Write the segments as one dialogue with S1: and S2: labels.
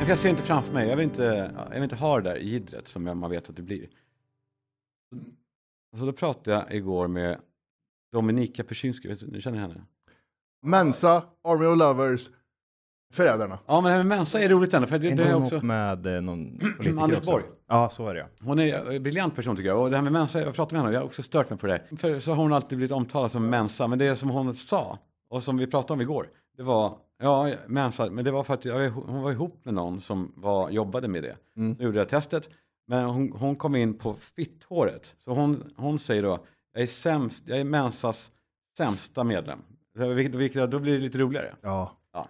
S1: Men Jag ser inte framför mig, jag vill inte, jag vill inte ha det där jiddret som jag- man vet att det blir. Så då pratade jag igår med Dominika Persinski, vet du, ni känner henne?
S2: Mensa, Army of Lovers, Förrädarna.
S1: Ja, men det här med Mensa är roligt ändå, för det,
S3: Är
S1: det är
S3: inte hon
S1: också...
S3: ihop med eh, någon politiker
S1: Anders
S3: också?
S1: Borg.
S3: Ja, så är det ja.
S1: Hon är en briljant person tycker jag. Och det här med Mensa, jag pratade med henne och jag har också stört mig på det. För så har hon alltid blivit omtalad som Mensa. Men det som hon sa och som vi pratade om igår. Det var, ja Mensa, men det var för att jag, hon var ihop med någon som var, jobbade med det. Så gjorde jag testet. Men hon, hon kom in på fitthåret. Så hon, hon säger då, jag är, sämst, jag är Mensas sämsta medlem. Så Vilket, vilket, då blir det lite roligare.
S2: Ja.
S1: Ja.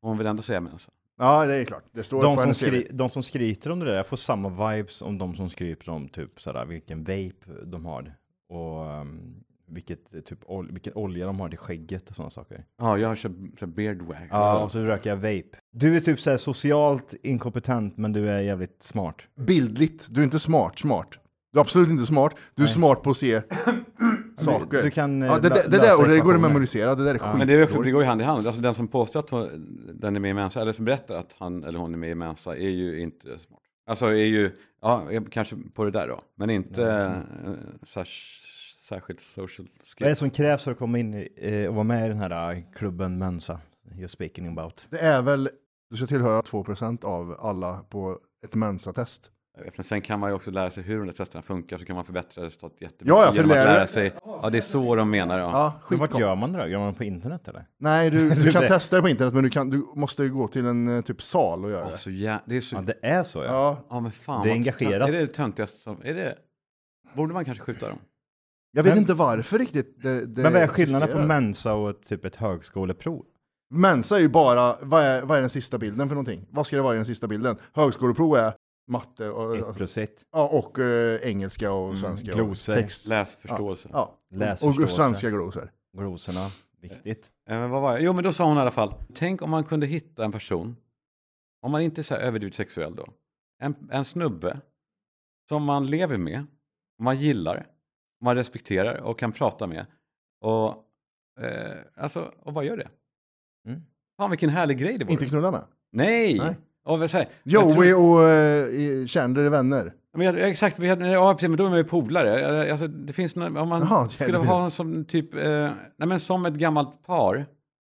S1: Hon vill ändå säga Mensa.
S2: ja, det är klart. Det står
S3: De
S2: på
S3: som,
S2: hennes CV.
S3: skri- de som skryter om det där, jag får samma vibes om de som skryter om typ sådär, vilken vape de har. Och um, vilket, eh, typ, ol- vilken olja de har till skägget och sådana saker.
S1: Ja, jag har kört så här beardwag.
S3: Ja, och så röker jag vape. Du är typ såhär socialt inkompetent, men du är jävligt smart.
S2: Bildligt. Du är inte smart, smart. Du är absolut inte smart. Du är smart på att se saker.
S3: du kan, eh,
S2: ja, det,
S3: lö-
S2: det, det
S3: lösa
S2: där och det går att
S3: ekvationer.
S2: memorisera. Det där är skitdåligt.
S1: Men det, är också, det går ju hand i hand. Alltså den som påstår att hon- den är med i Mensa, eller som berättar att han eller hon är med i Mensa, är ju inte smart. Alltså är ju, ja, är kanske på det där då, men inte eh, särsk- särskilt social
S3: Vad är det
S1: skills.
S3: som krävs för att komma in i, eh, och vara med i den här eh, klubben Mensa? You're speaking about.
S2: Det är väl, du ska tillhöra 2% av alla på ett Mensa-test.
S1: Men sen kan man ju också lära sig hur de där testerna funkar, så kan man förbättra resultatet jättemycket
S2: Ja, ja, för
S1: genom att
S2: lärare-
S1: lära sig. Ja, det är så de menar. Ja.
S2: Ja,
S3: Men vart Typ.
S2: skitkom.
S3: gör man det då? Gör man det på internet eller?
S2: Nej, du, du
S3: Det
S2: kan
S3: är-
S2: testa det på internet, men du, kan, du måste ju gå till en eh, typ sal och göra
S1: Ja,
S2: det.
S1: så jä- det är så,
S3: Ja, det är så ja.
S2: Ja,
S1: ja, men fan.
S3: det är
S1: vad-
S3: engagerat.
S1: Är det det töntigaste som, är det, borde man kanske skjuta dem?
S2: jag vet
S3: Men-
S2: inte varför riktigt det, det
S3: Men vad är skillnaden på
S2: existerar.
S3: Mensa och ett- typ ett högskoleprov?
S2: Mensa är ju bara, vad är, vad är den sista bilden för någonting? Vad ska det vara i den sista bilden? Högskoleprov är matte och,
S3: Ett plus ett.
S2: ja, och eh, engelska
S1: Mm,
S2: och svenska och
S3: glosor.
S2: text.
S1: Läs förståelse.
S2: Ja. Och, och
S3: Läsförståelse.
S2: svenska glosor.
S3: Glosorna. Viktigt.
S1: Eh, Men vad var jag? Jo, men då sa hon i alla fall, tänk om man kunde hitta en person, om man inte är så här överdrivet sexuell då, en, en snubbe som man lever med, man gillar, man respekterar och kan prata med. Och, eh, alltså, och vad gör det?
S3: Mm.
S1: Fan vilken härlig grej det vore.
S2: Inte knulla med.
S1: Nej!
S2: Nej.
S1: Och vad säger- jag
S2: Joey
S1: tror-
S2: och eh, Chandler är vänner.
S1: Men jag, exakt, vi hade, ja, precis, men då är man ju polare. Alltså, det finns någon, om man
S2: Jaha, det är
S1: skulle
S2: det.
S1: ha en som typ, eh, nej men som ett gammalt par.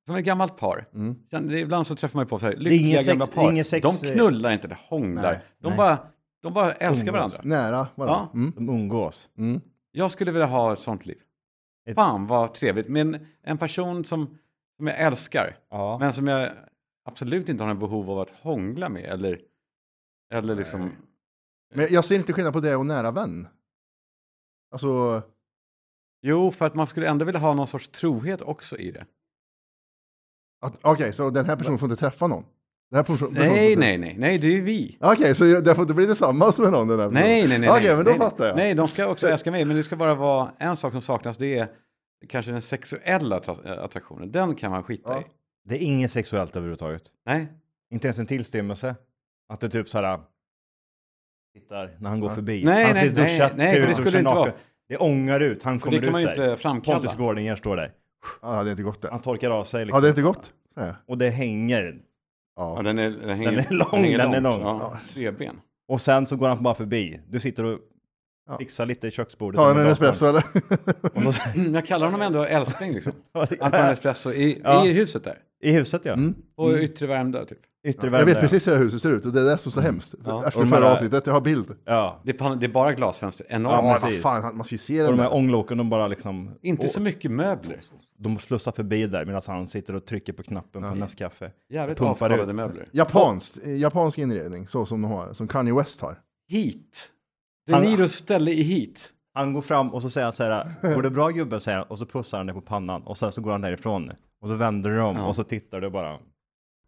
S1: Som ett gammalt par.
S2: mm.
S1: Sen- det är Ibland så träffar man ju på så här,
S3: är ingen
S1: lyckliga
S3: sex-
S1: gamla par.
S3: ingen sex-
S1: de knullar inte, de hånglar.
S2: Nej.
S1: de,
S3: Nej.
S1: Bara, de bara älskar varandra.
S2: Nära varandra.
S1: Ja.
S2: Mm.
S3: De umgås.
S1: Jag skulle vilja ha ett sånt liv.
S3: Ett-
S1: Fan vad trevligt. Men en person som, som jag älskar,
S3: Ja.
S1: men som jag absolut inte har en behov av att hångla med. Eller, eller liksom,
S2: Men jag ser inte skillnad på det och nära vän. Alltså,
S1: jo, för att man skulle ändå vilja ha någon sorts trohet också i det.
S2: att- okej, så den här personen får inte träffa någon? Den här person, personen får
S1: Nej,
S2: inte-
S1: nej, nej, nej, det är ju vi.
S2: Okej, så jag, därför det blir det samma som med någon den här personen?
S1: Nej, nej, nej.
S2: Okej,
S1: nej,
S2: men då
S1: nej,
S2: fattar jag.
S1: Nej, de ska också älska mig, men det ska bara vara en sak som saknas, det är kanske den sexuella attra- eh, attraktionen. Den kan man skita
S2: Ja.
S1: i.
S3: Det är inget sexuellt överhuvudtaget.
S1: Nej,
S3: Inte ens en tillstymmelse. Att det typ såhär tittar när han går förbi.
S1: Nej,
S3: han har
S1: nej,
S3: precis
S1: nej,
S3: duschat,
S1: nej, för det
S3: huvudduschen
S1: skulle det inte
S3: naken.
S1: vara.
S3: Det ångar ut, han
S1: för
S3: kommer
S1: det kan man ju
S3: ut där.
S1: inte framkalla.
S3: Pontus Gårdinger står där.
S2: Ja, det hade inte gått det.
S3: Han torkar av sig
S2: Ja,
S3: liksom.
S2: det är inte gått. Ja.
S3: Och det hänger.
S1: Ja, den, är, den, hänger,
S3: är lång,
S1: hänger
S3: den är
S1: långt.
S3: lång.
S1: Ja, tre ben.
S3: Och sen så går han bara förbi. Du sitter och
S2: Ja.
S3: fixar lite i köksbordet.
S2: Tar han
S3: med
S2: en
S3: datorn.
S2: espresso eller?
S3: Och så-
S1: Jag kallar honom ändå älskling, liksom. Att han är espresso i,
S3: Ja. Mm.
S1: i huset där.
S3: I huset ja.
S1: Och yttre Värmdö, typ.
S3: Yttervärmdö.
S2: Mm. jag vet precis hur det här huset ser ut och det är det som är så hemskt. Efter
S3: Och de
S2: förra
S3: här-
S2: avsnittet, jag har bild.
S3: Ja.
S1: Det är, pan- det är bara glasfönster,
S3: Ja,
S1: enormt.
S2: Ja, vad
S3: precis.
S2: fan, man ska ju se den.
S3: Och de här
S2: där.
S3: ånglåken, de bara liksom...
S1: Inte
S3: och,
S1: så mycket möbler.
S3: De slussar förbi där medan han sitter och trycker på knappen på Nescafe.
S1: Jävligt
S3: Pumpar
S1: avskalade
S3: ut.
S1: möbler.
S2: Japanskt, eh, japansk inredning, så som de har, som Kanye West har.
S1: Heat. De
S3: Han-
S1: Niros ställe i Heat.
S3: Han går fram och så säger han så här, går det bra gubben? Säger han, och så pussar han dig på pannan och sen så går han därifrån. Och så vänder du om och så tittar du bara.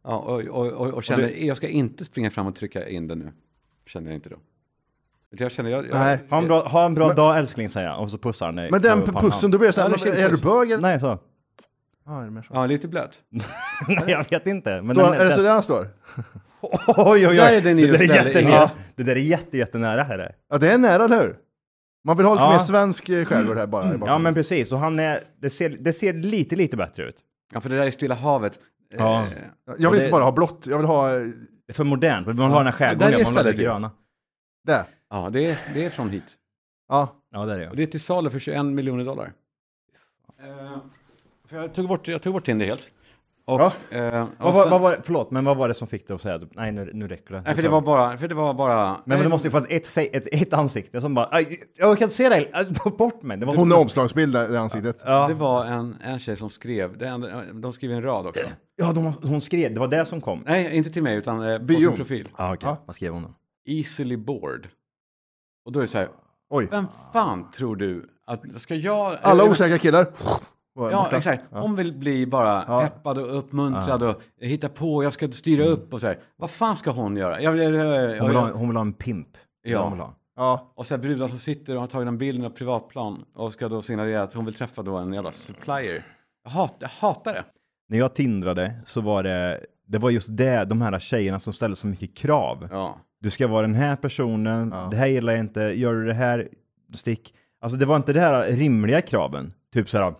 S1: Ja, och, och, och, och känner, jag ska inte springa fram och trycka in den nu. Känner jag inte då. Utan Jag känner, jag, jag,
S2: Nej.
S3: Ha en bra, ha en bra dag älskling säger han och så pussar han dig.
S2: Men den
S3: på pannan.
S2: pussen, då blir det
S1: Ja,
S2: såhär,
S1: det
S2: är du
S1: känns-
S2: bög eller?
S3: Nej så.
S2: Ja, är det mer så?
S1: Ja, lite blöt.
S3: Nej jag vet inte. Men
S2: Står,
S3: den,
S2: han- är det så
S3: den,
S2: där han står?
S3: oj, oj, oj.
S1: Där är den i
S3: det, där är
S1: ställe-
S3: jättenära.
S1: Ja.
S3: det där är jätte, jättenära här. är.
S2: Ja, det är nära, eller hur? Man vill ha lite
S3: Ja.
S2: mer svensk eh, skärgård här bara. i
S3: Ja
S2: bakgrunden.
S3: men precis, och han är, det ser, det ser lite, lite bättre ut.
S1: Ja, för det där är Stilla havet.
S3: Ja.
S1: Eh,
S2: Jag
S1: och
S2: vill
S1: det-
S2: inte bara ha blått, jag vill ha eh,
S3: Det är för modernt, man vill ha den här
S1: där är
S3: skärgården, man vill ha det
S1: stället ju.
S3: gröna.
S2: Det.
S1: Ja, det är, det är från hit.
S2: Ja.
S3: Ja, där är
S1: Och
S3: jag.
S1: det är till salu för 21 miljoner dollar. Eh, för jag, tog bort, jag tog bort Tinder helt. Och,
S2: Ja.
S1: eh, och
S3: Vad, var-
S1: sen-
S3: vad var, det- förlåt, men vad var det som fick dig att säga att nej, nu, nu räcker det?
S1: Nej, för det var bara... För det var bara
S3: Men, men
S1: nej,
S3: det måste ju vara ett, fe- ett, ett ansikte som bara, "Aj, jag kan inte se dig, Aj, bort mig. Det var
S2: Hon är omslagsbild där i ansiktet.
S1: Det
S3: Ja,
S1: var en, en tjej som skrev, det enda- de skrev en rad också.
S3: ja de, hon skrev, det var det som kom.
S1: Nej, inte till mig utan eh, på
S2: Bio.
S1: sin profil.
S3: Ja, okej.
S2: Ja.
S3: Vad skrev hon då?
S1: Easily bored. Och då är det så här,
S2: Oj.
S1: vem
S3: Ah.
S1: fan tror du att, ska jag...
S2: Alla
S1: eller-
S2: osäkra killar. Var
S1: Ja,
S2: borta.
S1: exakt. Hon vill bli bara
S2: Ja.
S1: peppad och uppmuntrad och hitta på, jag ska styra upp och så här. Vad fan ska hon göra? Jag, jag, jag, jag,
S3: Mm. Hon vill, ha,
S1: jag,
S3: hon vill ha en pimp. Det är
S1: Ja.
S3: det Hon vill ha.
S2: Ja.
S1: och så här brudar som sitter och har tagit en bild med privatplan och ska då signalera att hon vill träffa då en jävla supplier. Jag, hat, jag hatar det.
S3: När jag tindrade så var det, det var just det, de här tjejerna som ställde så mycket krav.
S1: Ja.
S3: Du ska vara den här personen, det här gillar jag inte, gör du det här, stick. Alltså det var inte det här rimliga kraven. Typ så här,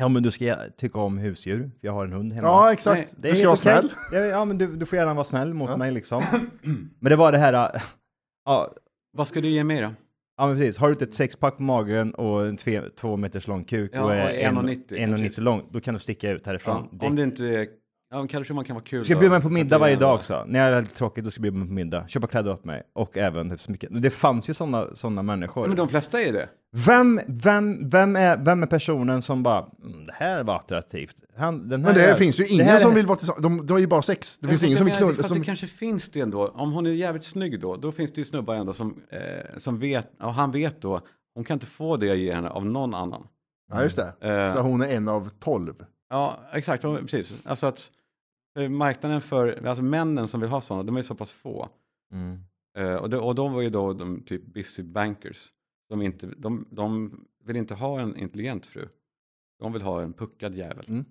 S3: ja men du ska tycka om husdjur, för jag har en hund hemma.
S2: ja, exakt.
S1: Nej,
S3: Det
S2: du ska vara
S3: helt okej.
S2: snäll.
S3: Ja, Ja, men du, du får gärna vara snäll mot mig liksom. Men det var det här, äh, ja,
S1: Vad ska du ge mig då?
S3: ja men precis. Har du inte ett sexpack på magen och en tve, två meters lång kuk
S1: Ja,
S3: och
S1: och
S3: är en-
S1: 1,90,
S3: 1,90 lång, då kan du sticka ut härifrån.
S1: Ja, om det inte är... Ja, men kanske man kan vara kul.
S3: Ska
S1: då.
S3: jag bjuda mig på middag
S1: Att det är
S3: varje
S1: ändå-
S3: dag också. När jag är lite tråkig då ska jag bjuda mig på middag. Köpa kläder åt mig och även typ så mycket. Det fanns ju sådana såna människor.
S1: Men de flesta är det.
S3: Vem, vem, vem, är, vem är personen som bara, mm, det här var attraktivt. Han, den här
S2: Men det
S3: är-
S2: finns ju
S3: det här
S2: ingen
S3: är-
S2: som vill vara tillsammans. De, de är ju bara sex. Det finns
S1: Fast
S2: ingen
S1: jag
S2: som vill
S1: menar,
S2: knulla.
S1: fast
S2: Som...
S1: Det kanske finns det ändå. Om hon är jävligt snygg då, då finns det ju snubbar ändå som, eh, som vet, och han vet då, hon kan inte få det jag ger henne av någon annan.
S2: Ja, just det.
S1: Eh.
S2: Så hon är en av tolv.
S1: Ja, exakt, hon- precis. Alltså att eh, marknaden för, alltså männen som vill ha sådana, de är så pass få.
S3: Mm.
S1: Eh, och, de, och de var ju då de typ busy bankers. De, inte, de, de vill inte ha en intelligent fru. De vill ha en puckad jävel.
S2: Mm.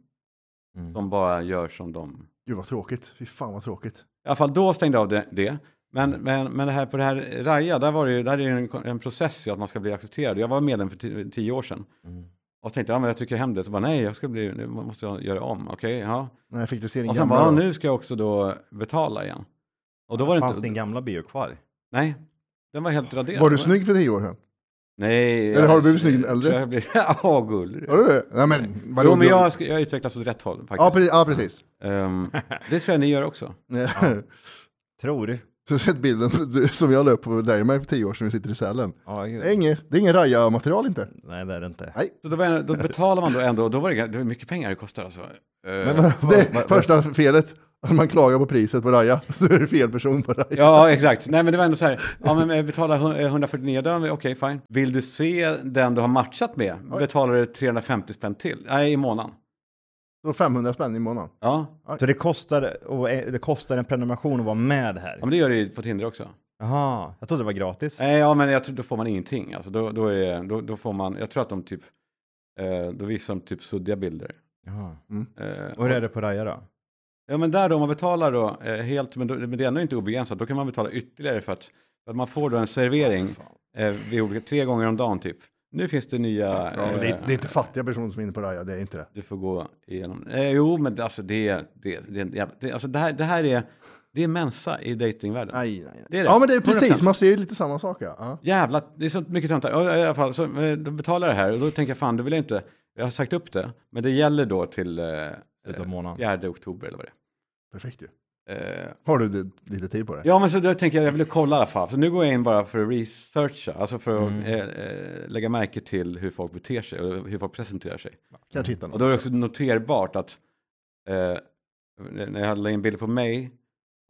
S3: Mm.
S1: Som bara gör som de
S2: Gud vad tråkigt. Fy fan vad tråkigt.
S1: I alla fall då stängde jag av det. det. Men, men, men det här, på det här Raja, där, var det ju, där är det ju en, en process i att man ska bli accepterad. Jag var medlem för tio, tio år sedan.
S3: Mm.
S1: Och tänkte, ja men jag tycker hem det. Så bara, nej, jag ska bli, nu måste jag göra om. Okej, ja.
S2: Nej, fick du se din
S1: Och sen
S2: gamla
S1: bara, ja,
S2: då?
S1: nu ska jag också då betala igen. Och då var det
S3: Fanns
S1: inte,
S3: din gamla bio kvar?
S1: nej, den var helt raderad.
S2: Var du snygg för tio år sedan?
S1: Nej.
S2: Eller har du blivit snygg äldre?
S1: tror Jag blir, ja, gullig.
S2: Var du det? Nej men, vadå?
S1: Jo, men
S2: Du-
S1: jag, ska- jag utvecklas åt rätt håll faktiskt.
S2: Ja, precis. Ja, precis.
S1: Ehm, det tror jag ni gör också.
S3: Tror du?
S2: Så har du sett bilden du- som jag la upp på dig och mig för tio år sedan, vi sitter i Sälen.
S3: Ja,
S2: Det är inget, det är ingen raja-material inte.
S3: Nej, det är det inte.
S1: Så då, var- då betalar man då ändå, och då var det, det var mycket pengar det kostar alltså. Ehm,
S2: Det är första felet, att man klagar på priset på raja, så är det fel person på raja.
S1: Ja, exakt. Nej, men det var ändå så här. Ja, men eh, betala hun- eh, 149 dollar, okej, fine. Vill du se den du har matchat med, betalar du 350 spänn till. Nej, i månaden.
S2: Så 500 spänn i månaden.
S1: Ja,
S3: Så det kostar, och eh, det kostar en prenumeration att vara med här?
S1: ja men det gör det ju på Tinder också.
S3: Jaha, jag trodde det var gratis.
S1: Nej, ja, men jag tror, då får man ingenting. Alltså, då, då, är, då, då får man, jag tror att de typ, eh, då visar de typ suddiga bilder.
S3: Jaha.
S1: Eh,
S3: Och hur är det på Raja då?
S1: Ja, men där då, om man betalar då eh, helt, men, då, men det är ändå inte obegränsat, då kan man betala ytterligare för att, för att man får då en servering eh, vid olika, tre gånger om dagen typ. Nu finns det nya...
S2: Ja, men det,
S1: eh,
S2: är, det är inte fattiga personer som är inne på raja, det är inte det.
S1: du får gå igenom. Eh, jo, men alltså det, det, det, det, en jävla- det, alltså det, här, det här är, det är mensa i datingvärlden.
S2: Nej, nej, nej.
S1: Det är det.
S2: Ja, men det är precis,
S1: 100%.
S2: man ser ju lite samma sak. Ja. Ja.
S1: Jävla, det är så mycket töntar. Ja, I alla fall, så, eh, då betalar jag det här och då tänker jag fan, det vill jag inte. Jag har sagt upp det, men det gäller då till eh,
S3: Utav månaden?
S1: 4 oktober eller vad det
S2: Perfekt ju.
S1: är. Eh,
S2: Har du det- lite tid på det?
S1: ja, men så då tänker jag, jag vill kolla i alla fall. Så nu går jag in bara för att researcha, alltså för
S2: Mm.
S1: att eh, eh, lägga märke till hur folk beter sig och hur folk presenterar sig.
S2: Kanske hitta
S1: Och
S2: något.
S1: då är det också noterbart att eh, när jag lägger in bilder på mig,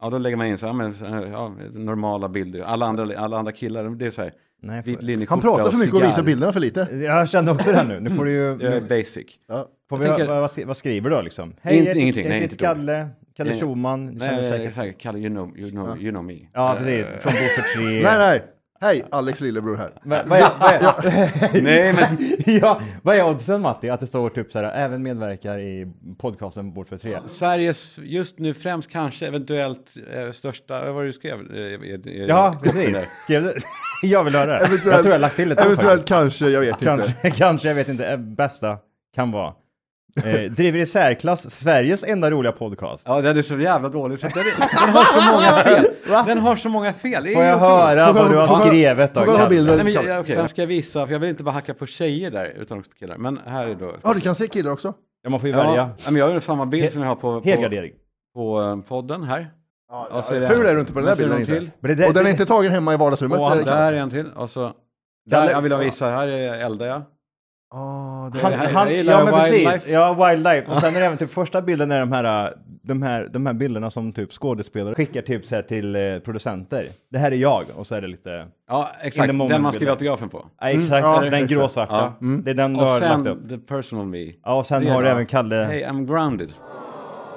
S1: ja då lägger man in så här, men, så här, ja, normala bilder. Alla andra, alla andra killar, det är så här,
S3: Nej,
S1: vit
S3: för...
S1: linjeskjorta
S2: Han pratar för mycket och visar bilderna för lite.
S3: Jag kände också det här nu. Nu får du ju...
S1: Jag är basic.
S2: Ja.
S1: Jag
S3: Får vi,
S1: tänker-
S3: vad, vad skri- vad skriver du då liksom?
S1: Inte-
S3: jag heter-
S1: ingenting,
S3: jag
S1: nej,
S3: heter
S1: inte ett ord.
S3: Kalle, Kalle
S1: Nej.
S3: Schumann, känner du
S1: Nej,
S3: säkert.
S1: jag säger, Kalle, you know, you know, you know me.
S3: Ja, precis. Från Bofors 3.
S2: Nej, nej. Hej, Alex lillebror här.
S1: Mm.
S3: Men, vad, är, vad, är,
S1: Nej, men
S3: ja, vad är oddsen Matti att det står typ så här, även medverkar i podcasten Bord för tre?
S1: Sveriges just nu främst kanske eventuellt eh, största, vad var det du skrev? Eh, i- i-
S3: Ja,
S1: i-
S3: precis.
S1: där.
S3: Skrev du? Jag vill höra det.
S2: Eventuellt-
S3: jag tror jag har lagt till ett ord
S2: Eventuellt
S3: faktiskt.
S2: kanske, jag vet inte.
S3: Kanske, kanske, jag vet inte. Bästa Eh, kan vara Eh, driver i särklass Sveriges enda roliga podcast.
S1: Ja, den är så jävla dålig. Så den, den har så många fel. Den har så många fel. Det är
S3: Får jag
S1: otroligt.
S3: höra
S2: Får jag-
S3: vad du har
S2: får jag-
S3: skrivit då,
S2: får jag ha
S3: Kalle?
S2: bilden?
S1: Nej, men jag, jag, sen ska jag visa, för jag vill inte bara hacka på tjejer där, utan också på killar. Men här är då...
S2: Ja, du kan se killar också.
S3: Ja, man får ju
S1: Ja,
S3: välja.
S1: men jag har samma bild
S3: He-
S1: som jag har på, på,
S3: Helgardering.
S1: på eh, podden här.
S2: Ja,
S1: Ja, så är det
S2: ful
S1: här.
S2: är du inte på den där
S1: Sen ser
S2: bilden.
S1: någon
S2: Inte.
S1: till.
S3: Men det där-
S2: Och den är
S3: det-
S2: inte tagen hemma i vardagsrummet.
S1: Och han,
S2: Ja,
S1: där är en till. Och så, där,
S3: Kalle-
S1: jag vill jag visa, här är Elda ja.
S2: ah, det
S3: Han,
S2: är...
S1: här-
S3: han,
S1: jag gillar
S3: ja men
S1: wildlife.
S3: precis, ja wildlife. Och sen är det även typ första bilden är de här, äh, de här, de här bilderna som typ skådespelare skickar typ så här till eh, producenter. Det här är jag och så är det lite,
S1: Ja,
S3: In
S1: exakt.
S3: the moment
S1: Den man skriver
S3: bilden.
S1: autografen på.
S3: ja exakt,
S2: Mm, ja,
S3: den
S2: exakt.
S3: gråsvarta.
S1: Ja.
S3: Det är den du
S1: Och
S3: har lagt upp.
S1: sen the personal me.
S3: Ja och sen
S1: Det är
S3: har du
S1: bra.
S3: även Kalle.
S1: Hey, I'm grounded.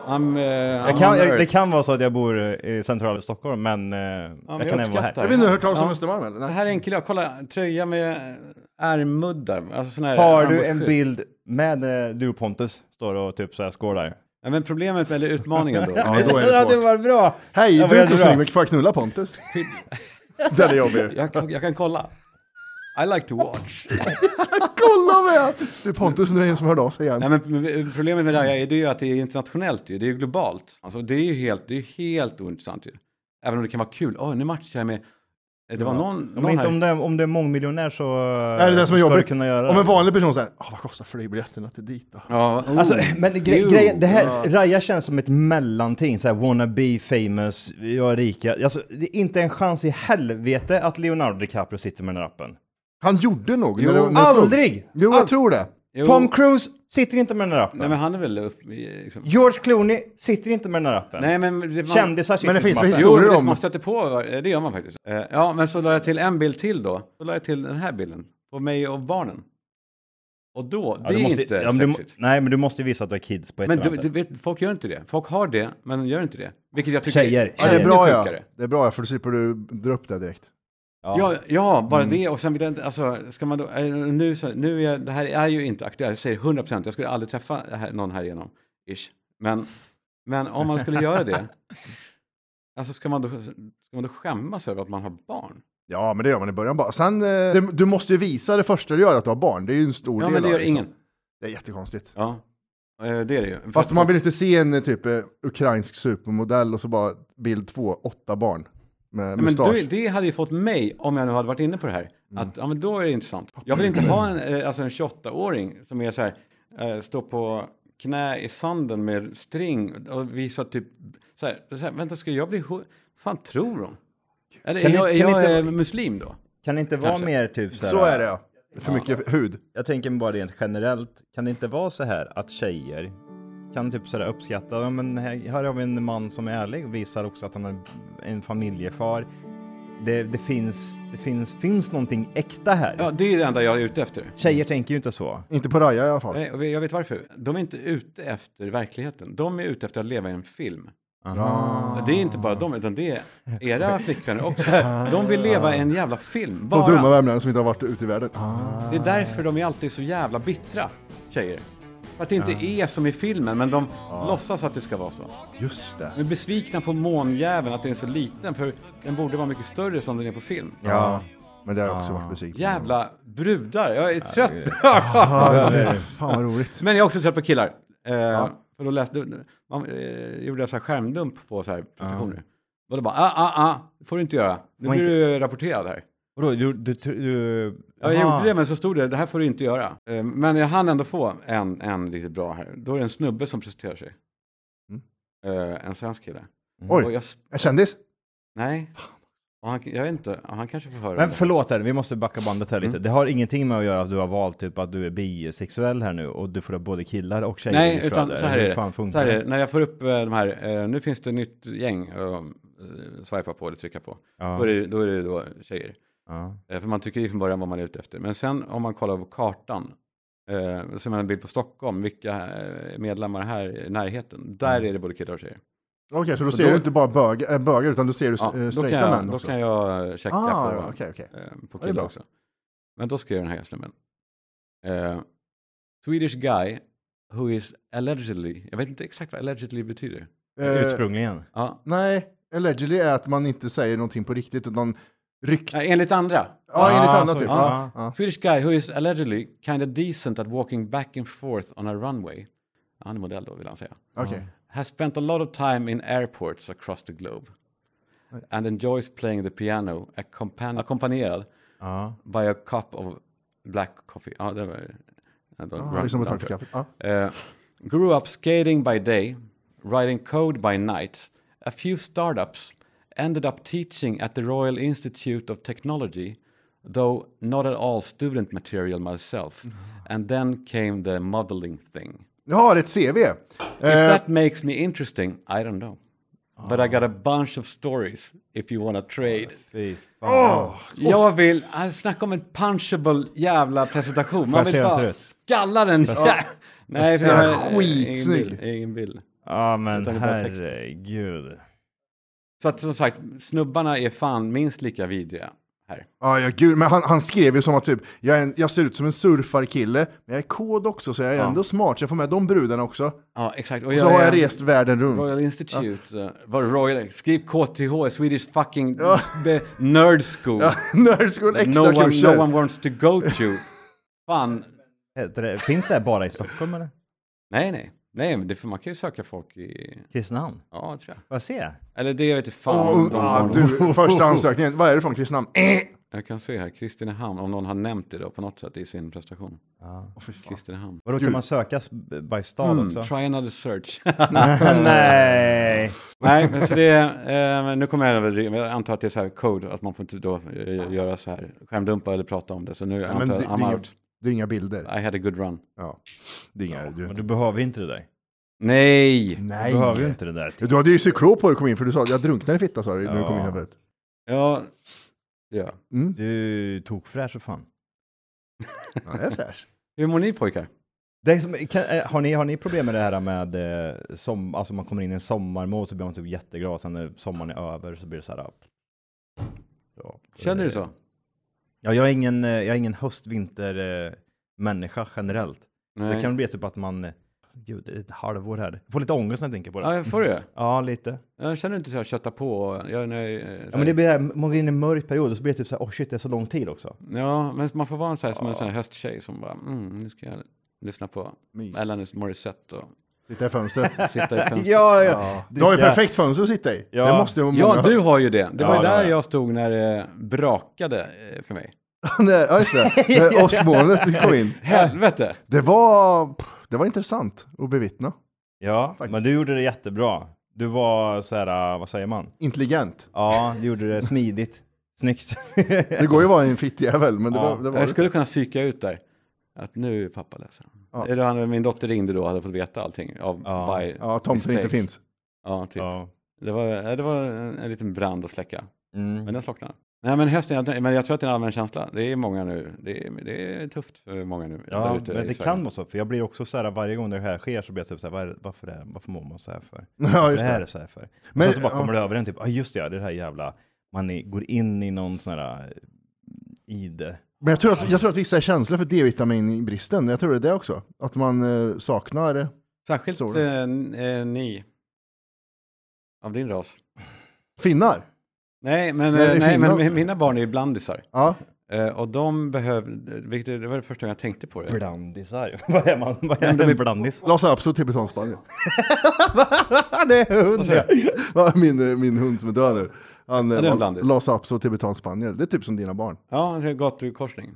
S1: I'm, uh,
S3: jag kan, jag, det kan vara så att jag bor i centrala Stockholm men, eh, jag,
S1: jag
S3: kan även vara
S1: uppskattar
S3: här.
S2: Jag vet inte, har du hört talas om
S1: Ja.
S2: Östermalm eller?
S1: Det
S2: Nej.
S1: här är en kille, jag kolla, tröja med eh, ärmmuddar. Alltså sån här
S3: Har du en
S1: armbågsskydd.
S3: bild med eh, du och Pontus? Står och typ så här skålar.
S1: Ja, men problemet, eller utmaningen då.
S2: Ja, då är det
S3: Ja, det
S2: svårt.
S3: var bra!
S2: Hej,
S3: Ja,
S2: du är
S3: men
S2: inte snygg,
S3: jag tror-
S2: men får jag knulla Pontus? Den är jobbig.
S1: jag, kan- jag kan kolla. I like to watch.
S2: Kolla med! Du Pontus, nu är det en som hörde av sig igen.
S1: Nej, men problemet med det här är det ju att det är internationellt ju. Det är ju globalt. Alltså det är ju helt, det är helt ointressant ju. Även om det kan vara kul. Åh, nu matchar jag med... eh, Det var någon,
S3: Om,
S1: någon
S3: inte,
S1: här.
S3: om, det, är- om det är mångmiljonär så
S2: Är det det som är
S3: ska du
S2: jobbigt?
S3: kunna göra
S2: Om
S3: det.
S2: en vanlig person säger, ah, vad kostar flygbiljetterna till dit då?
S1: Ja, oh.
S3: Alltså, men gre-
S1: Jo.
S3: grejen, det här, Raja känns som ett mellanting, såhär wannabe famous, jag är rika. Alltså, det är inte en chans i helvete att Leonardo DiCaprio sitter med den här appen.
S2: Han gjorde nog.
S1: Jo,
S2: det- det slog.
S3: Aldrig!
S2: Jo, jag tror det.
S1: Jo.
S3: Tom Cruise sitter inte med den här appen.
S1: Nej men han är väl upp, i- liksom.
S3: George Clooney sitter inte med den här appen.
S1: Nej men... Det, man,
S3: Kändisar sitter
S2: Men det finns
S3: inte med appen.
S2: väl
S1: Jo, men
S2: historier
S1: det,
S2: om-
S1: man stöter på, var- eh, det gör man faktiskt. Eh, Ja, men så la jag till en bild till då. Så la jag till den här bilden. På mig och barnen. Och då, det
S3: du
S1: är
S3: måste,
S1: inte
S3: ja, men du, må-
S1: sexigt.
S3: Nej, men du måste ju visa att du har kids på ett
S1: Men
S3: eller
S1: du,
S3: annat
S1: du
S3: sätt.
S1: vet, folk gör inte det. Folk har det, men gör inte det. Vilket jag tycker
S3: Tjejer.
S2: Ja, det är
S1: ännu
S2: bra ja.
S1: sjukare.
S2: Det är bra ja, för då slipper du dra upp det direkt.
S1: Ja, ja, bara
S3: Mm.
S1: det. Och sen vill jag inte, alltså, ska man då, eh, nu, så, nu är, det här är ju inte aktuellt, jag säger 100 procent, jag skulle aldrig träffa det här, någon här igenom, ish. Men, men om man skulle göra det, alltså ska man, då, ska man då skämmas över att man har barn?
S2: Ja, men det gör man i början bara. Sen, eh, det, du måste ju visa det första du gör att du har barn. Det är ju en stor
S1: Ja,
S2: del
S1: men det
S2: av
S1: gör
S2: liksom.
S1: ingen.
S2: Det är jättekonstigt.
S1: Ja, eh, det är det ju.
S2: Fast man vill inte se en eh, typ eh, ukrainsk supermodell och så bara bild två, åtta barn. Med
S1: Nej, men
S2: mustasch.
S1: du, det hade ju fått mig, om jag nu hade varit inne på det här,
S3: Mm.
S1: att ja, men då är det intressant. Jag vill inte ha en, eh, alltså en 28-åring som är så här, eh, står på knä i sanden med string och visar typ, så här, så här vänta ska jag bli, hu- fan tror de? Eller
S3: Kan
S1: är
S3: ni-
S1: jag, är
S3: kan ni
S1: jag
S3: inte-
S1: eh, muslim då?
S3: Kan det inte vara
S1: Kanske.
S3: mer typ så här,
S2: Så är det ja. För mycket hud.
S3: Jag tänker bara rent generellt, kan det inte vara så här att tjejer kan typ sådär uppskatta, ja men här här har vi en man som är ärlig och visar också att han är en familjefar. Det, det, finns, det finns, finns någonting äkta här.
S1: Ja, det är det enda jag är ute efter.
S3: Tjejer tänker ju inte så.
S2: Inte på Raja i alla fall.
S1: Nej, och Jag vet varför. De är inte ute efter verkligheten. De är ute efter att leva i en film. Det är inte bara de, utan det är era flickvänner också. De vill leva i en jävla film.
S2: Två
S1: Bara.
S2: dumma värmlänningar som inte har varit ute i världen. Ah,
S1: Det är därför de är alltid så jävla bittra, tjejer. För att det inte är som i filmen, men de låtsas att det ska vara så.
S2: Just det.
S1: De är besvikna på månjäveln att den är så liten, för den borde vara mycket större som den är på film.
S3: Ja.
S2: Men det har jag också varit besviken på.
S1: Jävla brudar, jag är trött.
S2: Ja, Fan vad roligt.
S1: Men jag är också trött på killar. Eh, För då läste, man eh, gjorde jag så här skärmdump på så här prestationer. Och då bara, ah, ah, ah, det får du inte göra. Nu
S3: Man
S1: blir du rapporterad här.
S3: Vadå, du, du, du, du
S1: Ja, jag
S3: Aha.
S1: gjorde det, men så stod det, det här får du inte göra. Eh, Men jag hann ändå få en, en lite bra här. Då är det en snubbe som presenterar sig.
S3: Mm.
S1: Eh, En svensk kille. Och
S2: Oj,
S1: jag, s-
S2: en Eh, kändis?
S1: nej. Och han, jag vet inte, han kanske får höra
S3: Men
S1: det.
S3: förlåt här, vi måste backa bandet här lite.
S1: Mm.
S3: Det har ingenting med att göra att du har valt typ att du är bisexuell här nu och du får ha både killar och tjejer i
S1: Nej,
S3: ditt
S1: utan
S3: flöde.
S1: så här
S3: Hur
S1: är det.
S3: fan
S1: Så
S3: funkar
S1: här är
S3: det?
S1: det. När jag får upp eh, de här, eh, nu finns det ett nytt gäng att eh, swipa på eller trycka på.
S3: Ja.
S1: Då, är det, då är det då tjejer.
S3: Ja.
S1: Eh, För man tycker ju från början vad man är ute efter. Men sen om man kollar på kartan, eh, som är en bild på Stockholm, vilka eh, medlemmar här i närheten, där
S3: Mm.
S1: är det både killar och tjejer.
S2: Okej, så då ser
S1: då-
S2: du inte bara bögar, äh, bögar utan då ser du
S1: Ja,
S2: ja,
S1: då, kan
S2: eh, straighta
S1: jag,
S2: män
S1: då
S2: också.
S1: kan jag checka
S2: Ah,
S1: på,
S2: okej, okej.
S1: eh, på
S2: det är
S1: killar
S2: bra.
S1: också. Men då skrev den här snubben. Eh, Swedish guy who is allegedly, jag vet inte exakt vad allegedly betyder.
S2: Eh,
S3: Ursprungligen.
S1: Ja.
S2: Nej, allegedly är att man inte säger någonting på riktigt utan rykt.
S1: Eh, Enligt andra.
S2: Ja, enligt
S3: Ah,
S2: annat
S3: så-
S2: typ.
S3: ja.
S2: Ja. Ja.
S1: Swedish guy who is allegedly kind of decent at walking back and forth on a runway Han är modell då, vill han säga.
S2: Okej.
S1: Has spent a lot of time in airports across the globe. And enjoys playing the piano accompan- ackompanjerad
S3: Ja.
S1: by a cup of black coffee. Ah, Ja, det var... ändå
S2: Ja,
S1: run-
S2: liksom
S1: run-
S2: betalt för kaffet. Ja.
S1: Uh, grew up skating by day, writing code by night, a few startups, ended up teaching at the Royal Institute of Technology, though not at all student material myself. And then came the modeling thing.
S2: Jaha, det är ett CV.
S1: If
S2: Eh,
S1: that makes me interesting, I don't know. But I got a bunch of stories if you want to trade.
S3: Fy fan.
S1: Jag vill, äh, snacka om en punchable jävla presentation. Man
S3: jag
S1: vill
S3: se hur den ser
S1: bara
S3: ut?
S1: skalla den. Ja. Nej, för
S2: ser
S1: jag har-
S2: skitsnygg.
S1: Ingen bild. Ingen bild.
S3: Ja men
S1: Utan det är bara text.
S3: herregud.
S1: Så att som sagt, snubbarna är fan minst lika vidriga här.
S2: Ah, Ja, ja, gud, men han, han skrev ju som att typ, jag, är en, jag ser ut som en surfarkille, men jag är kod också, så jag är ändå smart, så jag får med de brudarna också.
S1: Ja, exakt.
S2: Och så har jag rest världen runt.
S1: Royal Institute, ja. var Royal, skriv KTH, Swedish fucking be- nerd school.
S2: Nerd School
S1: no,
S2: extra
S1: one,
S2: kurser.
S1: no one wants to go to. fan,
S3: Heter det- Finns det här bara i Stockholm eller?
S1: nej nej. Nej, men det, för man kan ju söka folk i,
S3: Kristinehamn?
S1: ja tror jag.
S3: Får jag se?
S1: Eller det vet jag fan.
S2: Och-
S1: om
S3: oh,
S2: och-
S1: de
S2: ah,
S1: har någon-
S2: du, första ansökningen, vad är du från Kristinehamn? Eh!
S1: Jag kan se här, Kristinehamn, om någon har nämnt det då på något sätt i sin prestation.
S3: Ja.
S2: Åh, fy fan.
S1: Kristinehamn.
S3: Och då
S2: Gud.
S3: kan man sökas by stad
S1: Mm,
S3: också?
S1: try another search.
S3: Nej!
S1: Nej, men så det är, eh, men nu kommer jag över, men jag antar att det är så här code, att man får inte då eh, göra så här, skärmdumpa eller prata om det. Så nu
S2: men
S1: antar jag
S2: det-
S1: att
S2: det är
S1: I'm
S2: ju-
S1: out.
S2: Det är inga bilder.
S1: I had a good run.
S2: Ja. Det är inga,
S3: Men
S2: du,
S3: du behöver ju inte det där.
S1: Nej!
S3: Du
S2: nej.
S3: behöver ju inte det där.
S2: Du hade ju cyklop på dig kom in, för du sa jag drunknade i fitta sa du när du
S3: Ja.
S2: kom in här förut.
S1: Ja, ja.
S2: Mm.
S3: Du tog fräsch och fan.
S2: Ja, det är fräsch.
S1: Hur mår ni pojkar?
S3: Det är som, kan, eh, har, ni, har ni problem med det här med eh, som, alltså man kommer in i en sommarmode så blir man typ jätteglad sen när sommaren är över så blir det så här. ah, Ja,
S1: Känner du så?
S3: Ja, jag är ingen, eh, jag är ingen höst-vinter eh, människa generellt. Det
S1: Nej.
S3: kan bli typ att man, eh, gud det är ett halvår här. Jag får lite ångest när jag tänker på det.
S1: Ja, jag får det.
S3: Ja, lite.
S1: Jag känner inte så här kötta på. och- Jag, nej,
S3: Ja, men det blir det här, man går in i en mörk period och så blir det typ så här, åh shit det är så lång tid också.
S1: ja, men man får vara så här, som en sån här hösttjej som bara, mm, nu ska jag lyssna på
S2: Mys.
S1: Alanis Morissette och
S2: Sitta i fönstret.
S1: sitta i fönstret.
S3: Ja, ja.
S2: Du har ju
S3: Dricka-
S2: perfekt fönster att sitta i.
S3: Ja.
S2: Det måste vara många...
S1: Ja, du har ju det. Det var ju
S3: Ja, det har
S1: där
S3: jag.
S1: jag stod när det brakade eh, för mig.
S2: Nej, ja, just det. När åskmolnet kom in.
S1: Helvete!
S2: Det var, det var intressant att bevittna.
S3: Ja,
S2: Faktiskt.
S3: men du gjorde det jättebra. Du var så här, eh, vad säger man?
S2: Intelligent.
S3: Ja, du gjorde det smidigt. Typ. Snyggt.
S2: Det går ju att vara en fittjävel, men det
S3: Ja.
S2: var det. Var
S1: Jag
S2: det.
S1: skulle kunna psyka ut där. Att nu är pappa ledsen.
S2: Ja.
S1: Eller han- Min dotter ringde då och hade fått veta allting. Av,
S3: Ja.
S1: by
S2: Ja, tomten inte
S1: mistake.
S2: finns.
S1: Ja, typ.
S3: Ja.
S1: Det, var, ja, det var en, en liten brand att släcka. Men
S3: Mm.
S1: den slocknade. Nej, men hösten, jag, men jag tror att det är en allmän känsla. Det är många nu. Det är, det är tufft för många nu. där
S3: Ja,
S1: ute
S3: men
S1: i
S3: det
S1: Sverige.
S3: kan vara så, för jag blir också så här varje gång det här sker så blir jag typ så här, "Vad är det- varför, är, varför mår man så här för?
S2: Ja,
S3: Varför
S2: just
S3: är
S2: det.
S3: det så här för? Men,
S2: Men-
S3: sen så bara
S2: ja.
S3: kommer det över en typ, ja ah, just det, ja, det är det här jävla, man är, går in i någon sån här eh, ide.
S2: Men jag tror, att, jag tror att vissa är känsliga för D-vitaminbristen. Jag tror det är det också. Att man eh, saknar...
S1: Särskilt
S2: Så.
S1: eh, n- eh, ni. Av din ras.
S2: Finnar.
S1: Nej, men,
S2: Nej, det
S1: nej,
S2: är
S1: nej,
S2: Finland.
S1: men mina barn är ju blandisar.
S2: Ja.
S1: Eh, och de behövde, vilket det var det första gången jag tänkte på det.
S3: Blandisar, vad är man? Vad
S1: men
S3: är
S1: de
S3: en
S1: är-
S3: blandis?
S2: Lars Apso, tibetanspaniel. det är hund ja. Ja, min, eh, min hund som är död nu. Han,
S1: Ja, det är en
S2: eh,
S1: blandis.
S2: Lars Apso, tibetanspaniel. Det är typ som dina barn.
S1: Ja, det är gatukorsning.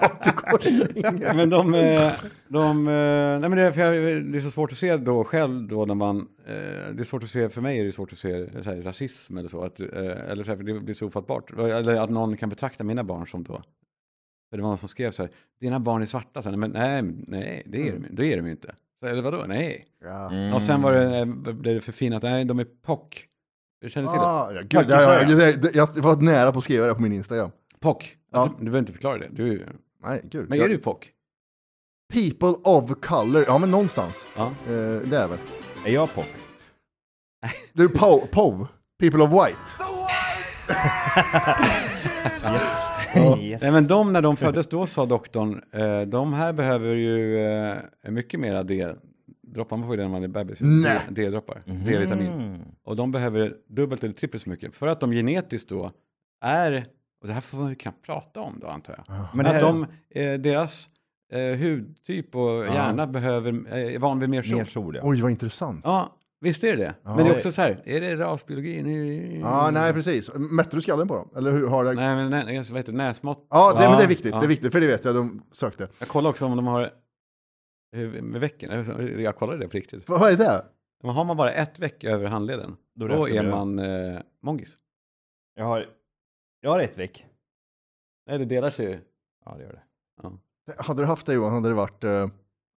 S2: Gatukorsning.
S1: Men de, eh, de, eh, nej men det, är för jag, det är så svårt att se då själv då när man, eh, det är svårt att se, för mig är det svårt att se så här, rasism eller så, att, eh, eller så här, för det blir så ofattbart. Eller att någon kan betrakta mina barn som då, för det var någon som skrev så här, dina barn är svarta, så här, men nej, men nej, det
S2: Mm.
S1: är, de, det är de ju inte. Så, eller vadå, nej.
S2: Ja.
S1: Och sen var
S3: Mm.
S1: det,
S2: Mm.
S1: eh, blev det förfinat, nej de är pock. Du känner till det?
S2: Ah, ja, gud, jag, jag, jag, jag, jag var nära på att skriva det på min Instagram.
S1: Pock.
S2: Ja.
S1: Att, Du behöver inte förklara det. Du,
S2: Nej, gud.
S1: men är
S2: jag,
S1: du pock?
S2: People of color, ja men någonstans.
S1: Ja.
S2: Eh, det är väl.
S3: Är jag pop?
S2: Du, POV, POV, People of white.
S3: Yes. yes.
S1: Nej, men de när de föddes, då sa doktorn, eh, de här behöver ju eh, mycket mera D-droppar, man får ju det när man är bebis, ju.
S2: Nej. Mhm.
S1: D- D-droppar, D-vitamin.
S3: Mm.
S1: Och de behöver dubbelt eller trippelt så mycket, för att de genetiskt då är, och det här får man ju knappt prata om då antar jag,
S3: Men
S1: men
S3: det
S1: att
S3: här,
S1: de, eh, deras eh, hudtyp och hjärna behöver, eh, är van vid mer sol.
S3: Mer sol, ja.
S2: Oj, vad intressant.
S1: Ja, visst är det det. Men det är också så här, är det rasbiologi? Nej,
S2: Ja, nej, precis. Mätte du skallen på dem? Eller hur har det?
S1: nej men nä, jag vet inte, näsmått.
S2: Ja, det, men det är
S1: Ja,
S2: viktigt.
S1: ja.
S2: Det är viktigt, för det vet jag. De sökte.
S1: Jag kollar också om de har huvud- med vecken. eller, Jag kollade det på riktigt.
S2: Vad, vad är det?
S1: Men har man bara ett veck över handleden,
S3: Då
S1: då,
S3: är
S1: är
S3: det eftermiddag.
S1: man eh, mongis.
S3: Jag har, jag har ett veck.
S1: Nej, det delar sig ju.
S3: Ja, det gör det.
S2: Hade du haft det Johan, hade det varit... eh,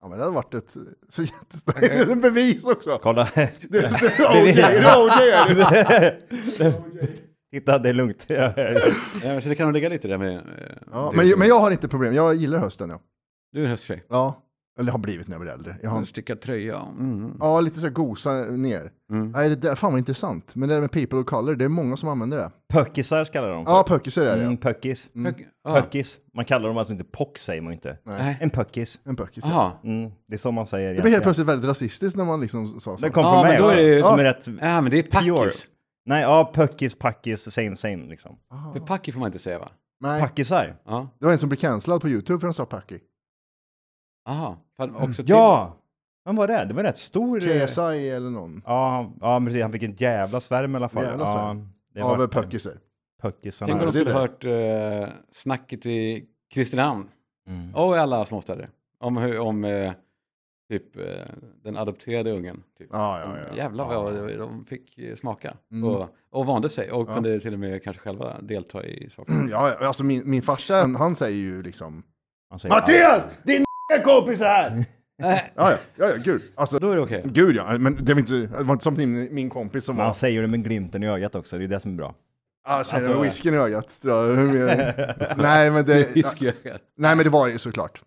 S2: Ja, men det hade varit ett så jättestarkt bevis också.
S3: Kolla.
S2: Det det- OJ, det är OJ är det.
S3: Titta, det är lugnt.
S1: Ja, men så det kan nog ligga lite där med... eh,
S2: Ja,
S1: du,
S2: men, men jag har inte problem. Jag gillar hösten, ja.
S1: du är en hösttjej.
S2: ja. Eller har blivit när jag blir äldre. Jag har en,
S1: Stickad tröja. Mm.
S2: ja, lite så här gosa ner.
S1: Mm.
S2: Nej, det där, fan vad intressant. Men det där med people of color, det är många som använder det.
S3: Pöckisar kallar de för.
S2: Ja, pökisar är det.
S3: Mm,
S2: ja.
S3: pöckis.
S1: Hög- ja.
S3: Pöckis. Man kallar dem alltså inte pock, säger man ju inte.
S1: Nej.
S3: En pöckis.
S2: En pökis. ja.
S1: Jaha.
S3: Mm, det är så man säger
S2: Det blir helt plötsligt väldigt rasistiskt när man liksom sa så.
S3: Det kom
S1: Ja,
S3: från
S1: men
S3: mig
S1: då är
S3: också,
S1: det ju-
S3: som är rätt...
S1: Ja, men det är
S3: Pure.
S1: packis.
S3: Nej, ja, pöckis, packis, same same liksom.
S2: Ah,
S1: För packi får man inte säga, va?
S2: Nej,
S3: Packisar.
S1: Ja.
S2: det var en som blev cancellad på YouTube för han sa packi.
S1: Aha. Fan, Också till...
S3: Ja! Vem var det? Det var rätt stor... eh,
S2: KSI eller någon
S3: Ja, han- ja, men precis, han fick en jävla svärm i alla fall.
S2: Jävla
S3: ja,
S2: svärm.
S3: det var
S2: av pökiser.
S3: pöckisarna.
S1: Tänk om de
S2: det är
S1: skulle
S2: det.
S1: hört eh, snacket i Kristinehamn
S3: Mm.
S1: och i alla småstäder. Om, hur- om eh, typ eh, den adopterade ungen. Typ.
S2: Ja, ja, ja.
S1: Jävlar vad
S3: Ja.
S1: de fick eh, smaka
S2: Mm.
S1: och, och vande sig och
S2: Ja.
S1: kunde till och med kanske själva delta i saker.
S3: Mm,
S2: Ja, ja, alltså min, min farsa, han, han säger ju liksom...
S3: Han säger,
S2: Mattias! Din kompis här!
S1: Nej,
S2: Ja, ja, ja, ja, gud. Alltså,
S1: då är det okej.
S2: gud ja. Men det var inte, det var inte som min, min kompis som
S3: Men han
S2: var...
S3: säger det med glimten i ögat också, det är det som är bra.
S2: Alltså,
S3: alltså-
S2: alltså whiskyn i ögat. Ja, hur mer- nej, men det,
S1: Fiskgökar.
S2: nej, men det var ju såklart.